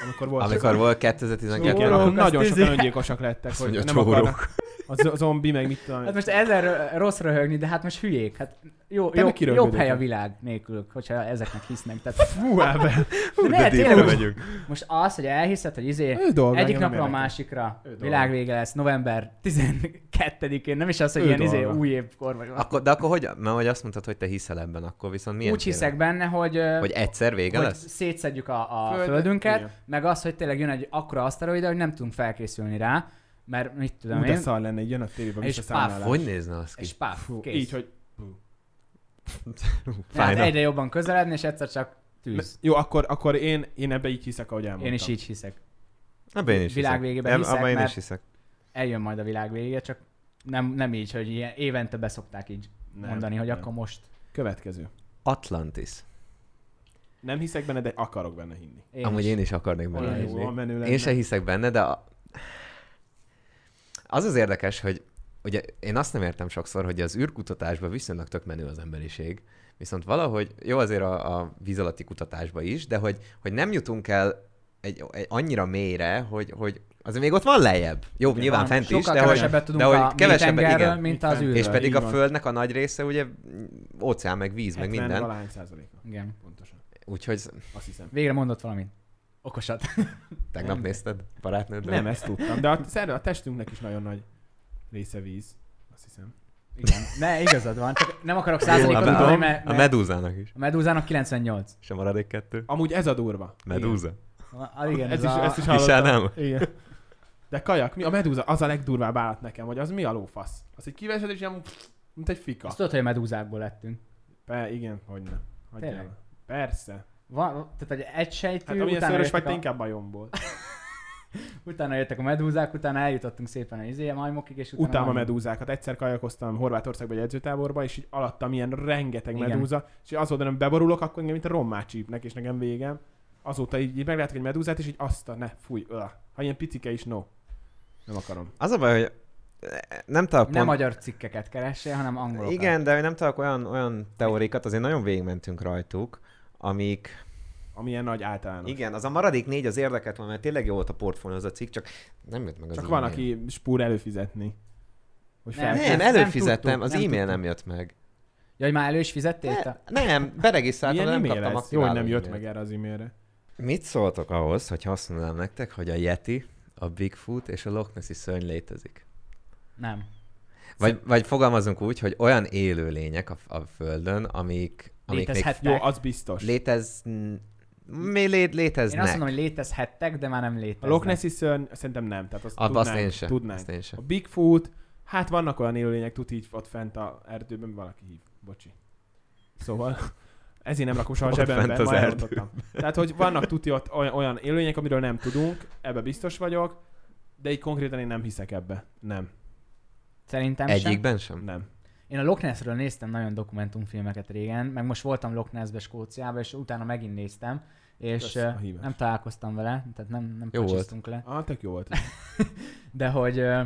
[SPEAKER 3] Amikor volt.
[SPEAKER 2] Amikor volt
[SPEAKER 3] Igen,
[SPEAKER 2] 2012
[SPEAKER 1] Csóró.
[SPEAKER 2] ben
[SPEAKER 3] akkor
[SPEAKER 1] Csórók, azt
[SPEAKER 3] nagyon sokan
[SPEAKER 1] izé-
[SPEAKER 3] öngyilkosok lettek, hogy
[SPEAKER 2] mondja,
[SPEAKER 3] nem
[SPEAKER 2] csóró.
[SPEAKER 3] akarnak. A zo- zombi meg mit tudom.
[SPEAKER 1] Hát most ezzel rö- rossz röhögni, de hát most hülyék. Hát jó,
[SPEAKER 3] Te
[SPEAKER 1] jó,
[SPEAKER 3] meg kiröhögöd
[SPEAKER 1] jobb hely a
[SPEAKER 3] őket.
[SPEAKER 1] világ nélkülük, hogyha ezeknek hisznek. Tehát,
[SPEAKER 3] Fú, hát ebben.
[SPEAKER 1] de ne, tényleg
[SPEAKER 2] deepre
[SPEAKER 1] most,
[SPEAKER 2] megyünk.
[SPEAKER 1] most az, hogy elhiszed, hogy izé,
[SPEAKER 3] Ő dolga.
[SPEAKER 1] egyik
[SPEAKER 3] engem nem
[SPEAKER 1] napról a
[SPEAKER 3] érdekel.
[SPEAKER 1] másikra
[SPEAKER 3] Ő dolga.
[SPEAKER 1] világvége lesz, november 12-én, nem is az, hogy
[SPEAKER 3] Ő
[SPEAKER 1] ilyen izé,
[SPEAKER 3] dolga.
[SPEAKER 1] új évkor vagy valami.
[SPEAKER 2] Akkor, de akkor hogy, mert hogy azt mondtad, hogy te hiszel ebben, akkor viszont milyen
[SPEAKER 1] Úgy
[SPEAKER 2] tényleg?
[SPEAKER 1] hiszek benne, hogy, ö,
[SPEAKER 2] Hogy egyszer vége
[SPEAKER 1] hogy
[SPEAKER 2] lesz?
[SPEAKER 1] szétszedjük a, a
[SPEAKER 3] Föld-
[SPEAKER 1] földünket,
[SPEAKER 3] igen.
[SPEAKER 1] meg az, hogy tényleg jön egy akkora aszteroida, hogy nem tudunk felkészülni rá, mert mit tudom
[SPEAKER 3] Ú, de
[SPEAKER 1] én,
[SPEAKER 3] szar lenne, így jön a tévében,
[SPEAKER 1] És
[SPEAKER 3] és a számlálás.
[SPEAKER 2] Hogy nézne az ki?
[SPEAKER 1] és páf,
[SPEAKER 3] Fú,
[SPEAKER 1] kész.
[SPEAKER 3] Így, hogy
[SPEAKER 1] hát
[SPEAKER 2] Fájna.
[SPEAKER 1] egyre jobban közeledni, és egyszer csak tűz.
[SPEAKER 3] jó, akkor, akkor én, én ebbe így hiszek, ahogy elmondtam.
[SPEAKER 1] Én is így hiszek.
[SPEAKER 2] Ebben én is
[SPEAKER 1] világ
[SPEAKER 2] hiszek.
[SPEAKER 1] végében
[SPEAKER 2] Eb-
[SPEAKER 1] hiszek,
[SPEAKER 2] abban én
[SPEAKER 1] mert-
[SPEAKER 2] is hiszek.
[SPEAKER 1] Eljön majd a világ vége, csak nem, nem így, hogy ilyen, évente beszokták így
[SPEAKER 3] Nem,
[SPEAKER 1] nem, mondani, hogy
[SPEAKER 3] nem.
[SPEAKER 1] akkor most.
[SPEAKER 3] Következő.
[SPEAKER 2] Atlantis.
[SPEAKER 3] Nem hiszek benne, de akarok benne hinni.
[SPEAKER 1] Én
[SPEAKER 2] Amúgy én is akarnék benne
[SPEAKER 1] Olyan
[SPEAKER 3] Olyan jó,
[SPEAKER 2] hinni.
[SPEAKER 3] a menő lenne.
[SPEAKER 2] Én se hiszek benne, de a... az az érdekes, hogy ugye én azt nem értem sokszor, hogy az űrkutatásban viszonylag tök menő az emberiség, viszont valahogy, jó azért a, a víz alatti kutatásban is, de hogy, hogy nem jutunk el egy, egy annyira mélyre, hogy, hogy azért még ott van lejjebb. Jó,
[SPEAKER 3] Igen,
[SPEAKER 2] nyilván
[SPEAKER 1] Van,
[SPEAKER 2] fent is,
[SPEAKER 1] hát Sokkal
[SPEAKER 2] de hogy,
[SPEAKER 1] kevesebbet
[SPEAKER 2] de
[SPEAKER 1] tudunk
[SPEAKER 2] hogy
[SPEAKER 1] a
[SPEAKER 2] kevesebbet,
[SPEAKER 1] mélytengerről,
[SPEAKER 2] igen.
[SPEAKER 1] mint az
[SPEAKER 3] Mint
[SPEAKER 1] űrről.
[SPEAKER 2] és pedig
[SPEAKER 3] így
[SPEAKER 2] a
[SPEAKER 3] van.
[SPEAKER 2] földnek a nagy része ugye mm, óceán, meg víz, meg
[SPEAKER 3] 70
[SPEAKER 2] minden.
[SPEAKER 3] Valahány százaléka.
[SPEAKER 1] Igen.
[SPEAKER 3] Pontosan.
[SPEAKER 2] Úgyhogy
[SPEAKER 3] Azt hiszem.
[SPEAKER 1] Végre mondott valamit. Okosat.
[SPEAKER 2] tegnap
[SPEAKER 1] Nem.
[SPEAKER 2] nézted barátnőddel?
[SPEAKER 3] Nem, ezt tudtam. De a, szerve, a testünknek is nagyon nagy része víz. Azt hiszem.
[SPEAKER 1] Igen. Ne, igazad van. Csak nem akarok
[SPEAKER 2] a,
[SPEAKER 1] százalékot
[SPEAKER 3] Tudom,
[SPEAKER 1] mondani,
[SPEAKER 2] a,
[SPEAKER 1] mert,
[SPEAKER 2] a
[SPEAKER 1] mert
[SPEAKER 2] medúzának is.
[SPEAKER 1] a medúzának 98.
[SPEAKER 2] És a maradék kettő?
[SPEAKER 3] Amúgy ez a durva.
[SPEAKER 2] Medúza?
[SPEAKER 1] Ah, igen,
[SPEAKER 3] Ez
[SPEAKER 1] ez,
[SPEAKER 3] is,
[SPEAKER 1] a...
[SPEAKER 3] ezt is
[SPEAKER 2] Hiszel
[SPEAKER 3] hallottam.
[SPEAKER 2] nem?
[SPEAKER 3] Igen. De kajak, mi? A medúza, az a legdurvább állat nekem, hogy az mi a lófasz? Az egy kiveszed, és ilyen, mint egy fika.
[SPEAKER 1] Azt tudod, hogy a medúzákból lettünk.
[SPEAKER 3] Pe, igen, hogy ne. Hagyjál.
[SPEAKER 1] Tényleg?
[SPEAKER 3] Persze.
[SPEAKER 1] Van, tehát egy egysejtű,
[SPEAKER 3] Hát amilyen
[SPEAKER 1] utána,
[SPEAKER 3] szörös vagy,
[SPEAKER 1] jöttek
[SPEAKER 3] te
[SPEAKER 1] a,
[SPEAKER 3] inkább bajomból.
[SPEAKER 1] utána jöttek a medúzák, utána eljutottunk szépen a izéje majmokig, és utána...
[SPEAKER 3] Utálom a
[SPEAKER 1] majmok.
[SPEAKER 3] medúzákat. Egyszer kajakoztam Horvátországba egy edzőtáborba, és így alattam ilyen rengeteg
[SPEAKER 1] Igen.
[SPEAKER 3] medúza, és így az oldalon hogy beborulok, akkor engem mint a rommá csípnek, és nekem végem. Azóta így, így meglátok egy medúzát, és így azt a ne, fúj, öh. ha ilyen picike is, no. Nem akarom.
[SPEAKER 2] Az a baj, hogy nem tudok
[SPEAKER 1] Nem
[SPEAKER 2] pont...
[SPEAKER 1] magyar cikkeket keressél, hanem angolokat.
[SPEAKER 2] Igen, de nem tudok olyan, olyan teórikat, azért nagyon végigmentünk rajtuk, amik...
[SPEAKER 3] Amilyen nagy általános.
[SPEAKER 2] Igen, az a maradék négy az érdeketlen, mert tényleg jó volt a portfólió az a cikk, csak nem jött meg az
[SPEAKER 3] Csak
[SPEAKER 2] e-mail.
[SPEAKER 3] van, aki spúr előfizetni. Hogy
[SPEAKER 1] Nem,
[SPEAKER 3] fel-
[SPEAKER 2] Nem,
[SPEAKER 1] nem
[SPEAKER 2] előfizettem,
[SPEAKER 1] tudtuk,
[SPEAKER 2] az
[SPEAKER 1] nem
[SPEAKER 2] e-mail
[SPEAKER 1] tudtuk.
[SPEAKER 2] nem jött meg.
[SPEAKER 1] Jaj, már elő is fizettél?
[SPEAKER 2] Ne,
[SPEAKER 1] Te-
[SPEAKER 2] nem, beregisztráltam,
[SPEAKER 3] Milyen
[SPEAKER 2] nem
[SPEAKER 3] e-mail
[SPEAKER 2] kaptam
[SPEAKER 3] ez? Jó, hogy
[SPEAKER 2] aktiváló
[SPEAKER 3] nem jött
[SPEAKER 2] e-mailt.
[SPEAKER 3] meg erre az e-mailre.
[SPEAKER 2] Mit szóltok ahhoz, hogy azt mondanám nektek, hogy a Yeti, a Bigfoot és a Loch Nessi szörny létezik?
[SPEAKER 1] Nem.
[SPEAKER 2] Vagy, vagy fogalmazunk úgy, hogy olyan élőlények a, a Földön, amik, amik még
[SPEAKER 1] Létezhettek.
[SPEAKER 3] Jó, az biztos.
[SPEAKER 2] létez... Mi lé, léteznek?
[SPEAKER 1] Én azt mondom, hogy létezhettek, de már nem
[SPEAKER 3] A
[SPEAKER 1] léteznek.
[SPEAKER 3] Loch Nessi szörny, szerintem nem. Tehát azt
[SPEAKER 2] Abba
[SPEAKER 3] tudnánk.
[SPEAKER 2] azt én sem.
[SPEAKER 3] tudnánk.
[SPEAKER 2] Azt én sem.
[SPEAKER 3] A Bigfoot, hát vannak olyan élőlények, tud így ott fent a erdőben, valaki hív, bocsi. Szóval ezért nem rakom soha a
[SPEAKER 2] Ott
[SPEAKER 3] zsebembe,
[SPEAKER 2] fent az
[SPEAKER 3] ma
[SPEAKER 2] erdőben.
[SPEAKER 3] elrontottam. Tehát, hogy vannak tuti ott olyan, olyan élőlények, amiről nem tudunk, ebbe biztos vagyok, de így konkrétan én nem hiszek ebbe. Nem,
[SPEAKER 1] Szerintem sem.
[SPEAKER 2] Egyikben sem?
[SPEAKER 3] nem.
[SPEAKER 1] Én a Loch Nessről néztem nagyon dokumentumfilmeket régen, meg most voltam Loch Nessbe, Skóciába, és utána megint néztem, és
[SPEAKER 3] Kösz, a
[SPEAKER 1] ö,
[SPEAKER 3] hívás.
[SPEAKER 1] nem találkoztam vele, tehát nem, nem
[SPEAKER 2] Jó volt.
[SPEAKER 1] pacsiztunk le,
[SPEAKER 3] Ah, tök jó volt.
[SPEAKER 1] de hogy ö,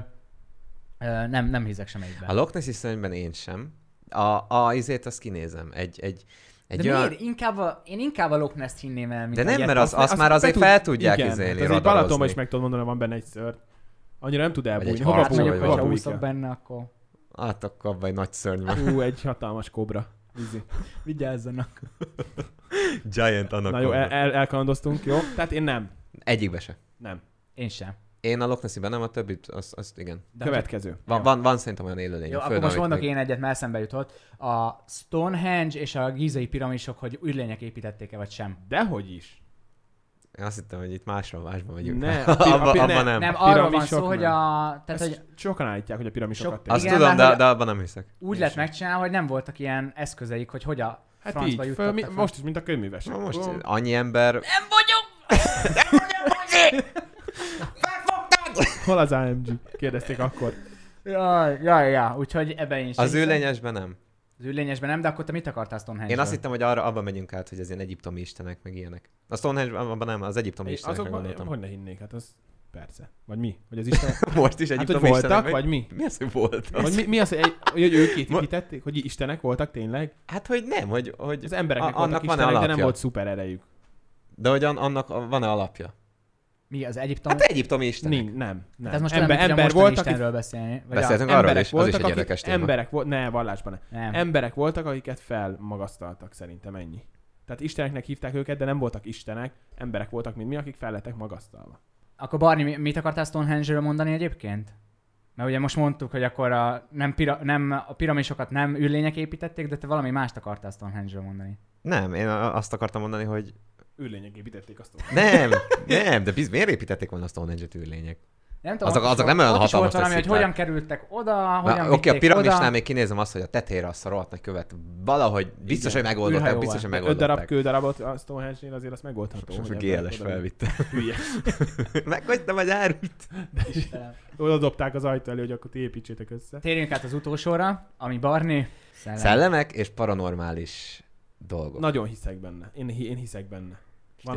[SPEAKER 1] ö, nem, nem hiszek sem egyben.
[SPEAKER 2] A Loch Nessi szörnyben én sem. A, a izét azt kinézem. Egy, egy, egy
[SPEAKER 1] de miért? Inkább a, én inkább a Loch Ness-t hinném el, mint
[SPEAKER 2] De
[SPEAKER 1] a
[SPEAKER 2] nem,
[SPEAKER 1] ilyet.
[SPEAKER 2] mert az, azt,
[SPEAKER 3] Azt
[SPEAKER 2] már
[SPEAKER 3] be
[SPEAKER 2] azért
[SPEAKER 3] tud-
[SPEAKER 2] fel tudják
[SPEAKER 3] Igen,
[SPEAKER 2] izélni,
[SPEAKER 3] hát azért
[SPEAKER 2] radarozni.
[SPEAKER 3] Balatonban is meg tudod mondani, hogy van benne egy szörny. Annyira nem tud elbújni.
[SPEAKER 2] egy
[SPEAKER 3] Hova
[SPEAKER 2] harc,
[SPEAKER 1] Hát
[SPEAKER 2] Abba
[SPEAKER 1] mondjuk,
[SPEAKER 2] vagy,
[SPEAKER 1] hogyha
[SPEAKER 2] abba
[SPEAKER 1] úszok benne, akkor
[SPEAKER 2] Álltak abba egy nagy szörny van.
[SPEAKER 3] Ú, egy hatalmas kobra. Vízi.
[SPEAKER 1] vigyázzanak.
[SPEAKER 2] Giant
[SPEAKER 3] Na jó, el,
[SPEAKER 1] e-
[SPEAKER 3] el, elkalandoztunk, jó? Tehát én nem.
[SPEAKER 2] Egyikbe se.
[SPEAKER 3] Nem.
[SPEAKER 1] Én sem.
[SPEAKER 2] Én a Loch Nessiben nem, a többit, azt, azt igen.
[SPEAKER 1] De
[SPEAKER 3] Következő.
[SPEAKER 2] Van,
[SPEAKER 1] Jó.
[SPEAKER 2] van, van szerintem olyan élőlény.
[SPEAKER 1] Jó,
[SPEAKER 2] a
[SPEAKER 1] akkor
[SPEAKER 2] Földön,
[SPEAKER 1] most
[SPEAKER 2] amit
[SPEAKER 1] mondok
[SPEAKER 2] még-
[SPEAKER 1] én egyet, mert eszembe jutott. A Stonehenge és a gízai piramisok, hogy űrlények építették-e vagy sem.
[SPEAKER 3] Dehogy is.
[SPEAKER 2] Én azt hittem, hogy itt másról másban vagyunk.
[SPEAKER 3] Ne, a pi- a
[SPEAKER 2] abba,
[SPEAKER 3] pi-
[SPEAKER 2] abban
[SPEAKER 3] ne.
[SPEAKER 2] nem.
[SPEAKER 1] Nem, arról van
[SPEAKER 3] piramisok
[SPEAKER 1] szó, hogy
[SPEAKER 3] nem.
[SPEAKER 1] a... Tehát,
[SPEAKER 3] Tehát,
[SPEAKER 1] hogy
[SPEAKER 3] hogy... Sokan állítják, hogy a piramisokat
[SPEAKER 1] Sok-
[SPEAKER 3] Sok...
[SPEAKER 2] Azt
[SPEAKER 1] Igen,
[SPEAKER 2] tudom,
[SPEAKER 1] mert
[SPEAKER 2] de,
[SPEAKER 1] hogy-
[SPEAKER 2] de abban nem hiszek.
[SPEAKER 1] úgy
[SPEAKER 2] Én
[SPEAKER 1] lett
[SPEAKER 2] sem.
[SPEAKER 1] megcsinálva, hogy nem voltak ilyen eszközeik, hogy hogy a
[SPEAKER 3] Hát
[SPEAKER 1] francba
[SPEAKER 3] így, föl,
[SPEAKER 1] juttattak
[SPEAKER 3] mi,
[SPEAKER 1] fel.
[SPEAKER 3] most is, mint a könyvművesek.
[SPEAKER 2] Na most annyi ember...
[SPEAKER 1] Nem vagyok!
[SPEAKER 3] Hol az AMG? Kérdezték akkor.
[SPEAKER 1] Ja, ja, ja, úgyhogy ebben én sem
[SPEAKER 2] Az
[SPEAKER 1] hiszem.
[SPEAKER 2] ülényesben nem.
[SPEAKER 1] Az űrlényesben nem, de akkor te mit akartál Stonehenge-ből?
[SPEAKER 2] Én azt hittem, hogy arra abba megyünk át, hogy ez ilyen egyiptomi istenek, meg ilyenek. A Stonehenge, abban nem, az egyiptomi
[SPEAKER 3] Én
[SPEAKER 2] istenekre
[SPEAKER 3] azokban,
[SPEAKER 2] gondoltam.
[SPEAKER 3] hogy ne hinnék, hát az persze. Vagy mi? Vagy az Isten?
[SPEAKER 2] Most is
[SPEAKER 3] hát, hogy
[SPEAKER 2] egyiptomi
[SPEAKER 3] voltak,
[SPEAKER 2] istenek.
[SPEAKER 3] vagy mi?
[SPEAKER 2] Mi az, hogy voltak?
[SPEAKER 3] Vagy mi, mi az, hogy, egy, hogy ők
[SPEAKER 2] Ma-
[SPEAKER 3] hitették, hogy istenek voltak tényleg?
[SPEAKER 2] Hát, hogy nem, hogy... hogy
[SPEAKER 3] Az embereknek
[SPEAKER 2] A-
[SPEAKER 3] voltak
[SPEAKER 2] annak van-e
[SPEAKER 3] istenek, de nem
[SPEAKER 2] alapja?
[SPEAKER 3] volt szuper erejük.
[SPEAKER 2] De hogy an- annak a- van-e alapja?
[SPEAKER 1] Mi az egyiptom?
[SPEAKER 2] Hát egyiptomi istenek.
[SPEAKER 3] Nin, nem, nem.
[SPEAKER 1] Hát ez most
[SPEAKER 3] Ember-
[SPEAKER 1] nem
[SPEAKER 3] ember
[SPEAKER 1] ember
[SPEAKER 3] volt,
[SPEAKER 1] volt,
[SPEAKER 3] aki-
[SPEAKER 1] Istenről beszélni. Vagy a...
[SPEAKER 2] Beszéltünk arról
[SPEAKER 3] Emberek
[SPEAKER 2] is, az is
[SPEAKER 3] voltak,
[SPEAKER 2] egy érdekes
[SPEAKER 3] akik,
[SPEAKER 2] téma.
[SPEAKER 3] emberek volt, ne, vallásban ne.
[SPEAKER 1] Nem.
[SPEAKER 3] Emberek voltak, akiket felmagasztaltak szerintem ennyi. Tehát isteneknek hívták őket, de nem voltak istenek, emberek voltak, mint mi, akik fel lettek magasztalva.
[SPEAKER 1] Akkor Barni, mi- mit akartál Stonehenge-ről mondani egyébként? Mert ugye most mondtuk, hogy akkor a, nem, pira, nem, a piramisokat nem űrlények építették, de te valami mást akartál Stonehenge-ről mondani.
[SPEAKER 2] Nem, én a- azt akartam mondani, hogy
[SPEAKER 3] Űrlények építették azt.
[SPEAKER 2] nem, nem, de biz, miért építették volna a Stonehenge-et űrlények?
[SPEAKER 1] Nem tudom,
[SPEAKER 2] Azok-
[SPEAKER 1] ott is
[SPEAKER 2] azok
[SPEAKER 1] volt-
[SPEAKER 2] nem olyan
[SPEAKER 1] ott is volt
[SPEAKER 2] hatalmas
[SPEAKER 1] valami, hogy
[SPEAKER 2] sziklák.
[SPEAKER 1] hogyan kerültek oda,
[SPEAKER 2] Na,
[SPEAKER 1] hogyan
[SPEAKER 2] Oké, a
[SPEAKER 1] vitték
[SPEAKER 2] piramisnál
[SPEAKER 1] oda.
[SPEAKER 2] még kinézem azt, hogy a tetére azt a rohadt nagy követ valahogy biztos,
[SPEAKER 3] Igen.
[SPEAKER 2] hogy megoldották,
[SPEAKER 1] Űrhajóval.
[SPEAKER 2] biztos, hogy
[SPEAKER 3] Öt darab
[SPEAKER 2] megoldották.
[SPEAKER 3] kő darabot a Stonehenge-nél azért azt megoldható.
[SPEAKER 2] Most a
[SPEAKER 3] hogy ember
[SPEAKER 2] GLS
[SPEAKER 3] oda-
[SPEAKER 2] felvitte.
[SPEAKER 3] Hülye.
[SPEAKER 2] Meghagytam a gyárút.
[SPEAKER 3] Oda dobták az ajtó elé, hogy akkor ti építsétek össze.
[SPEAKER 1] Térjünk át az utolsóra, ami Barni. Szellem.
[SPEAKER 2] Szellemek és paranormális dolgok.
[SPEAKER 3] Nagyon hiszek benne. Én, hi- én hiszek benne. Van,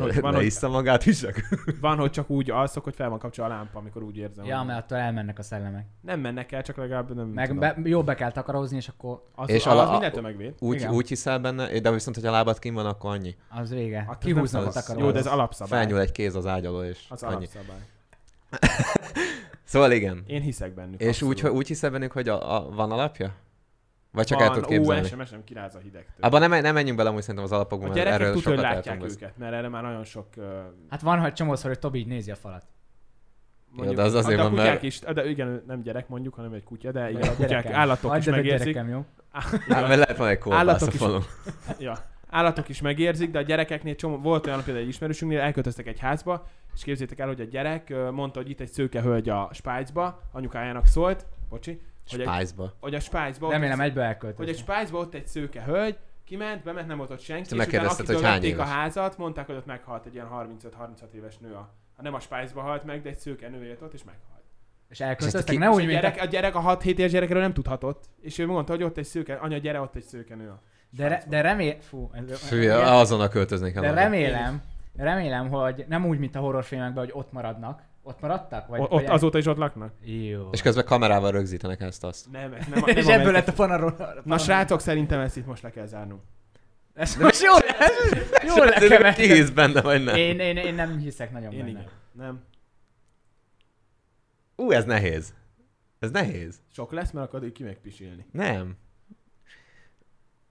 [SPEAKER 3] hogy, van, hogy,
[SPEAKER 2] Leissza magát is, csak.
[SPEAKER 3] van, hogy csak úgy alszok, hogy fel van kapcsolva a lámpa, amikor úgy érzem.
[SPEAKER 1] Ja,
[SPEAKER 3] hogy-
[SPEAKER 1] mert attól elmennek a szellemek.
[SPEAKER 3] Nem mennek el, csak legalább nem
[SPEAKER 1] Meg
[SPEAKER 3] tudom.
[SPEAKER 1] be, jó be kell takarózni, és akkor
[SPEAKER 3] Az, és
[SPEAKER 2] És
[SPEAKER 3] az,
[SPEAKER 2] ala-
[SPEAKER 3] az mindentől megvéd.
[SPEAKER 2] Úgy,
[SPEAKER 1] Igen.
[SPEAKER 2] úgy hiszel benne, de viszont, hogy a lábad kim van, akkor annyi.
[SPEAKER 1] az vége.
[SPEAKER 3] Hát ez
[SPEAKER 1] Kihúznak
[SPEAKER 2] nem
[SPEAKER 1] a
[SPEAKER 2] az-
[SPEAKER 1] takarót.
[SPEAKER 3] Jó, de ez alapszabály.
[SPEAKER 2] Felnyúl egy kéz az ágy alól, és
[SPEAKER 3] Az
[SPEAKER 2] annyi.
[SPEAKER 3] alapszabály.
[SPEAKER 2] Szóval igen.
[SPEAKER 3] Én hiszek bennük.
[SPEAKER 2] És
[SPEAKER 3] abszolút.
[SPEAKER 2] úgy, hogy úgy hiszel bennük, hogy a, a, van alapja? Vagy csak
[SPEAKER 3] van,
[SPEAKER 2] el tudod
[SPEAKER 3] Ó,
[SPEAKER 2] képzelni?
[SPEAKER 3] SMS nem kiráz a hidegtől.
[SPEAKER 2] Abban nem, nem menjünk bele, amúgy szerintem az
[SPEAKER 3] a
[SPEAKER 2] alapokban, mert
[SPEAKER 3] gyerekek
[SPEAKER 2] erről
[SPEAKER 3] tudja, hogy
[SPEAKER 2] sokat
[SPEAKER 3] látják
[SPEAKER 2] látják
[SPEAKER 3] őket, mert erre már nagyon sok... ö,
[SPEAKER 1] Hát van, hogy csomószor, hogy Tobi így nézi a falat.
[SPEAKER 3] Mondjuk,
[SPEAKER 2] de az azért
[SPEAKER 3] de a
[SPEAKER 2] van,
[SPEAKER 3] kutyák
[SPEAKER 2] mert-
[SPEAKER 3] is, de igen, nem gyerek mondjuk, hanem egy kutya, de igen,
[SPEAKER 1] Vagy
[SPEAKER 3] a kutyák,
[SPEAKER 1] gyerekem.
[SPEAKER 3] állatok
[SPEAKER 1] Hagyd
[SPEAKER 3] is
[SPEAKER 1] el, hogy
[SPEAKER 3] megérzik.
[SPEAKER 1] gyerekem, jó?
[SPEAKER 2] Hát, mert lehet van egy kolbász a
[SPEAKER 3] Állatok is-
[SPEAKER 2] falon.
[SPEAKER 3] Ja. Állatok is megérzik, de a gyerekeknél csomó, volt olyan például egy ismerősünknél, elköltöztek egy házba, és képzétek el, hogy a gyerek ö, mondta, hogy itt egy szőke hölgy a Spájcba, anyukájának szólt, bocsi, hogy egy,
[SPEAKER 2] Spájzba.
[SPEAKER 3] hogy a Spájcba, ott
[SPEAKER 1] Remélem
[SPEAKER 3] egy,
[SPEAKER 1] egyből
[SPEAKER 3] hogy egy
[SPEAKER 1] elköltözik.
[SPEAKER 3] Spájcba ott egy szőke hölgy, kiment, bement, nem volt ott senki,
[SPEAKER 2] Te
[SPEAKER 3] és utána
[SPEAKER 2] megkérdezted,
[SPEAKER 3] akitől
[SPEAKER 2] hogy hány
[SPEAKER 3] vették a
[SPEAKER 2] éves?
[SPEAKER 3] házat, mondták, hogy ott meghalt egy ilyen 35-36 éves nő a, ha nem a Spájcba halt meg, de egy szőke nő élt ott, és meghalt.
[SPEAKER 1] És elköltöztek,
[SPEAKER 2] ki-
[SPEAKER 1] ne
[SPEAKER 3] És
[SPEAKER 1] úgy,
[SPEAKER 3] a,
[SPEAKER 1] mint
[SPEAKER 3] gyerek,
[SPEAKER 1] a...
[SPEAKER 3] a gyerek a 6-7 éves gyerekről nem tudhatott, és ő mondta, hogy ott egy szőke, anya gyere, ott egy szőke nő a
[SPEAKER 1] De, re,
[SPEAKER 3] Spájcba.
[SPEAKER 1] de remél... Fú, ez-
[SPEAKER 2] Fű, azonnal költöznék el.
[SPEAKER 1] De
[SPEAKER 2] arra.
[SPEAKER 1] remélem, remélem, hogy nem úgy, mint a horrorfilmekben, hogy ott maradnak. Ott maradtak? Vagy,
[SPEAKER 3] O-
[SPEAKER 1] vagy
[SPEAKER 3] ott, azóta is ott laknak?
[SPEAKER 1] Jó.
[SPEAKER 2] És közben kamerával rögzítenek ezt azt.
[SPEAKER 3] Nem, ez nem, a- nem
[SPEAKER 1] És
[SPEAKER 3] a
[SPEAKER 1] ebből
[SPEAKER 3] mentett-
[SPEAKER 1] lett a panaról.
[SPEAKER 3] Na srácok, szerintem ezt itt most le kell zárnunk.
[SPEAKER 1] Ez most jól, jól lekevertem.
[SPEAKER 2] Kihisz benne, vagy nem?
[SPEAKER 1] Én, én, én nem hiszek nagyon
[SPEAKER 3] Én
[SPEAKER 1] benne.
[SPEAKER 3] igen. Nem.
[SPEAKER 2] Ú, ez nehéz. Ez nehéz.
[SPEAKER 3] Sok lesz, mert akkor addig ki meg pisilni.
[SPEAKER 2] Nem.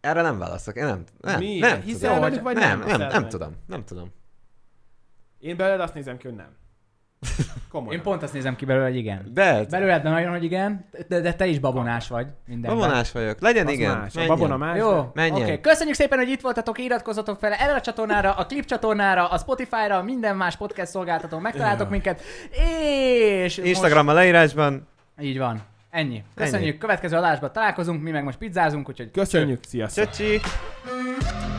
[SPEAKER 2] Erre nem válaszok. Én nem, nem,
[SPEAKER 3] Mi?
[SPEAKER 2] nem
[SPEAKER 3] Hiszel
[SPEAKER 2] tudom.
[SPEAKER 3] velük, vagy nem
[SPEAKER 2] nem, nem,
[SPEAKER 3] hiszel
[SPEAKER 2] nem,
[SPEAKER 3] velük?
[SPEAKER 2] tudom. Nem tudom.
[SPEAKER 3] Én belőled azt nézem ki, hogy nem. Komolyan.
[SPEAKER 1] Én pont azt nézem ki belőle, hogy igen.
[SPEAKER 2] De
[SPEAKER 1] Belőled nagyon, hogy igen, de, de te is babonás vagy mindenben.
[SPEAKER 2] babonás vagyok. Legyen,
[SPEAKER 3] az
[SPEAKER 2] igen.
[SPEAKER 3] Más. A
[SPEAKER 2] menjen.
[SPEAKER 3] babona más.
[SPEAKER 1] Jó,
[SPEAKER 3] de-
[SPEAKER 1] oké.
[SPEAKER 2] Menjen.
[SPEAKER 1] Okay. Köszönjük szépen, hogy itt voltatok, iratkozzatok fel erre a csatornára, a Clip csatornára, a Spotify-ra, minden más podcast szolgáltatón megtaláltok minket, és most-
[SPEAKER 2] Instagram a leírásban.
[SPEAKER 1] Így van. Ennyi. Köszönjük. Következő adásban találkozunk, mi meg most pizzázunk, úgyhogy
[SPEAKER 3] Köszönjük, sziasztok.
[SPEAKER 2] Csöcsi!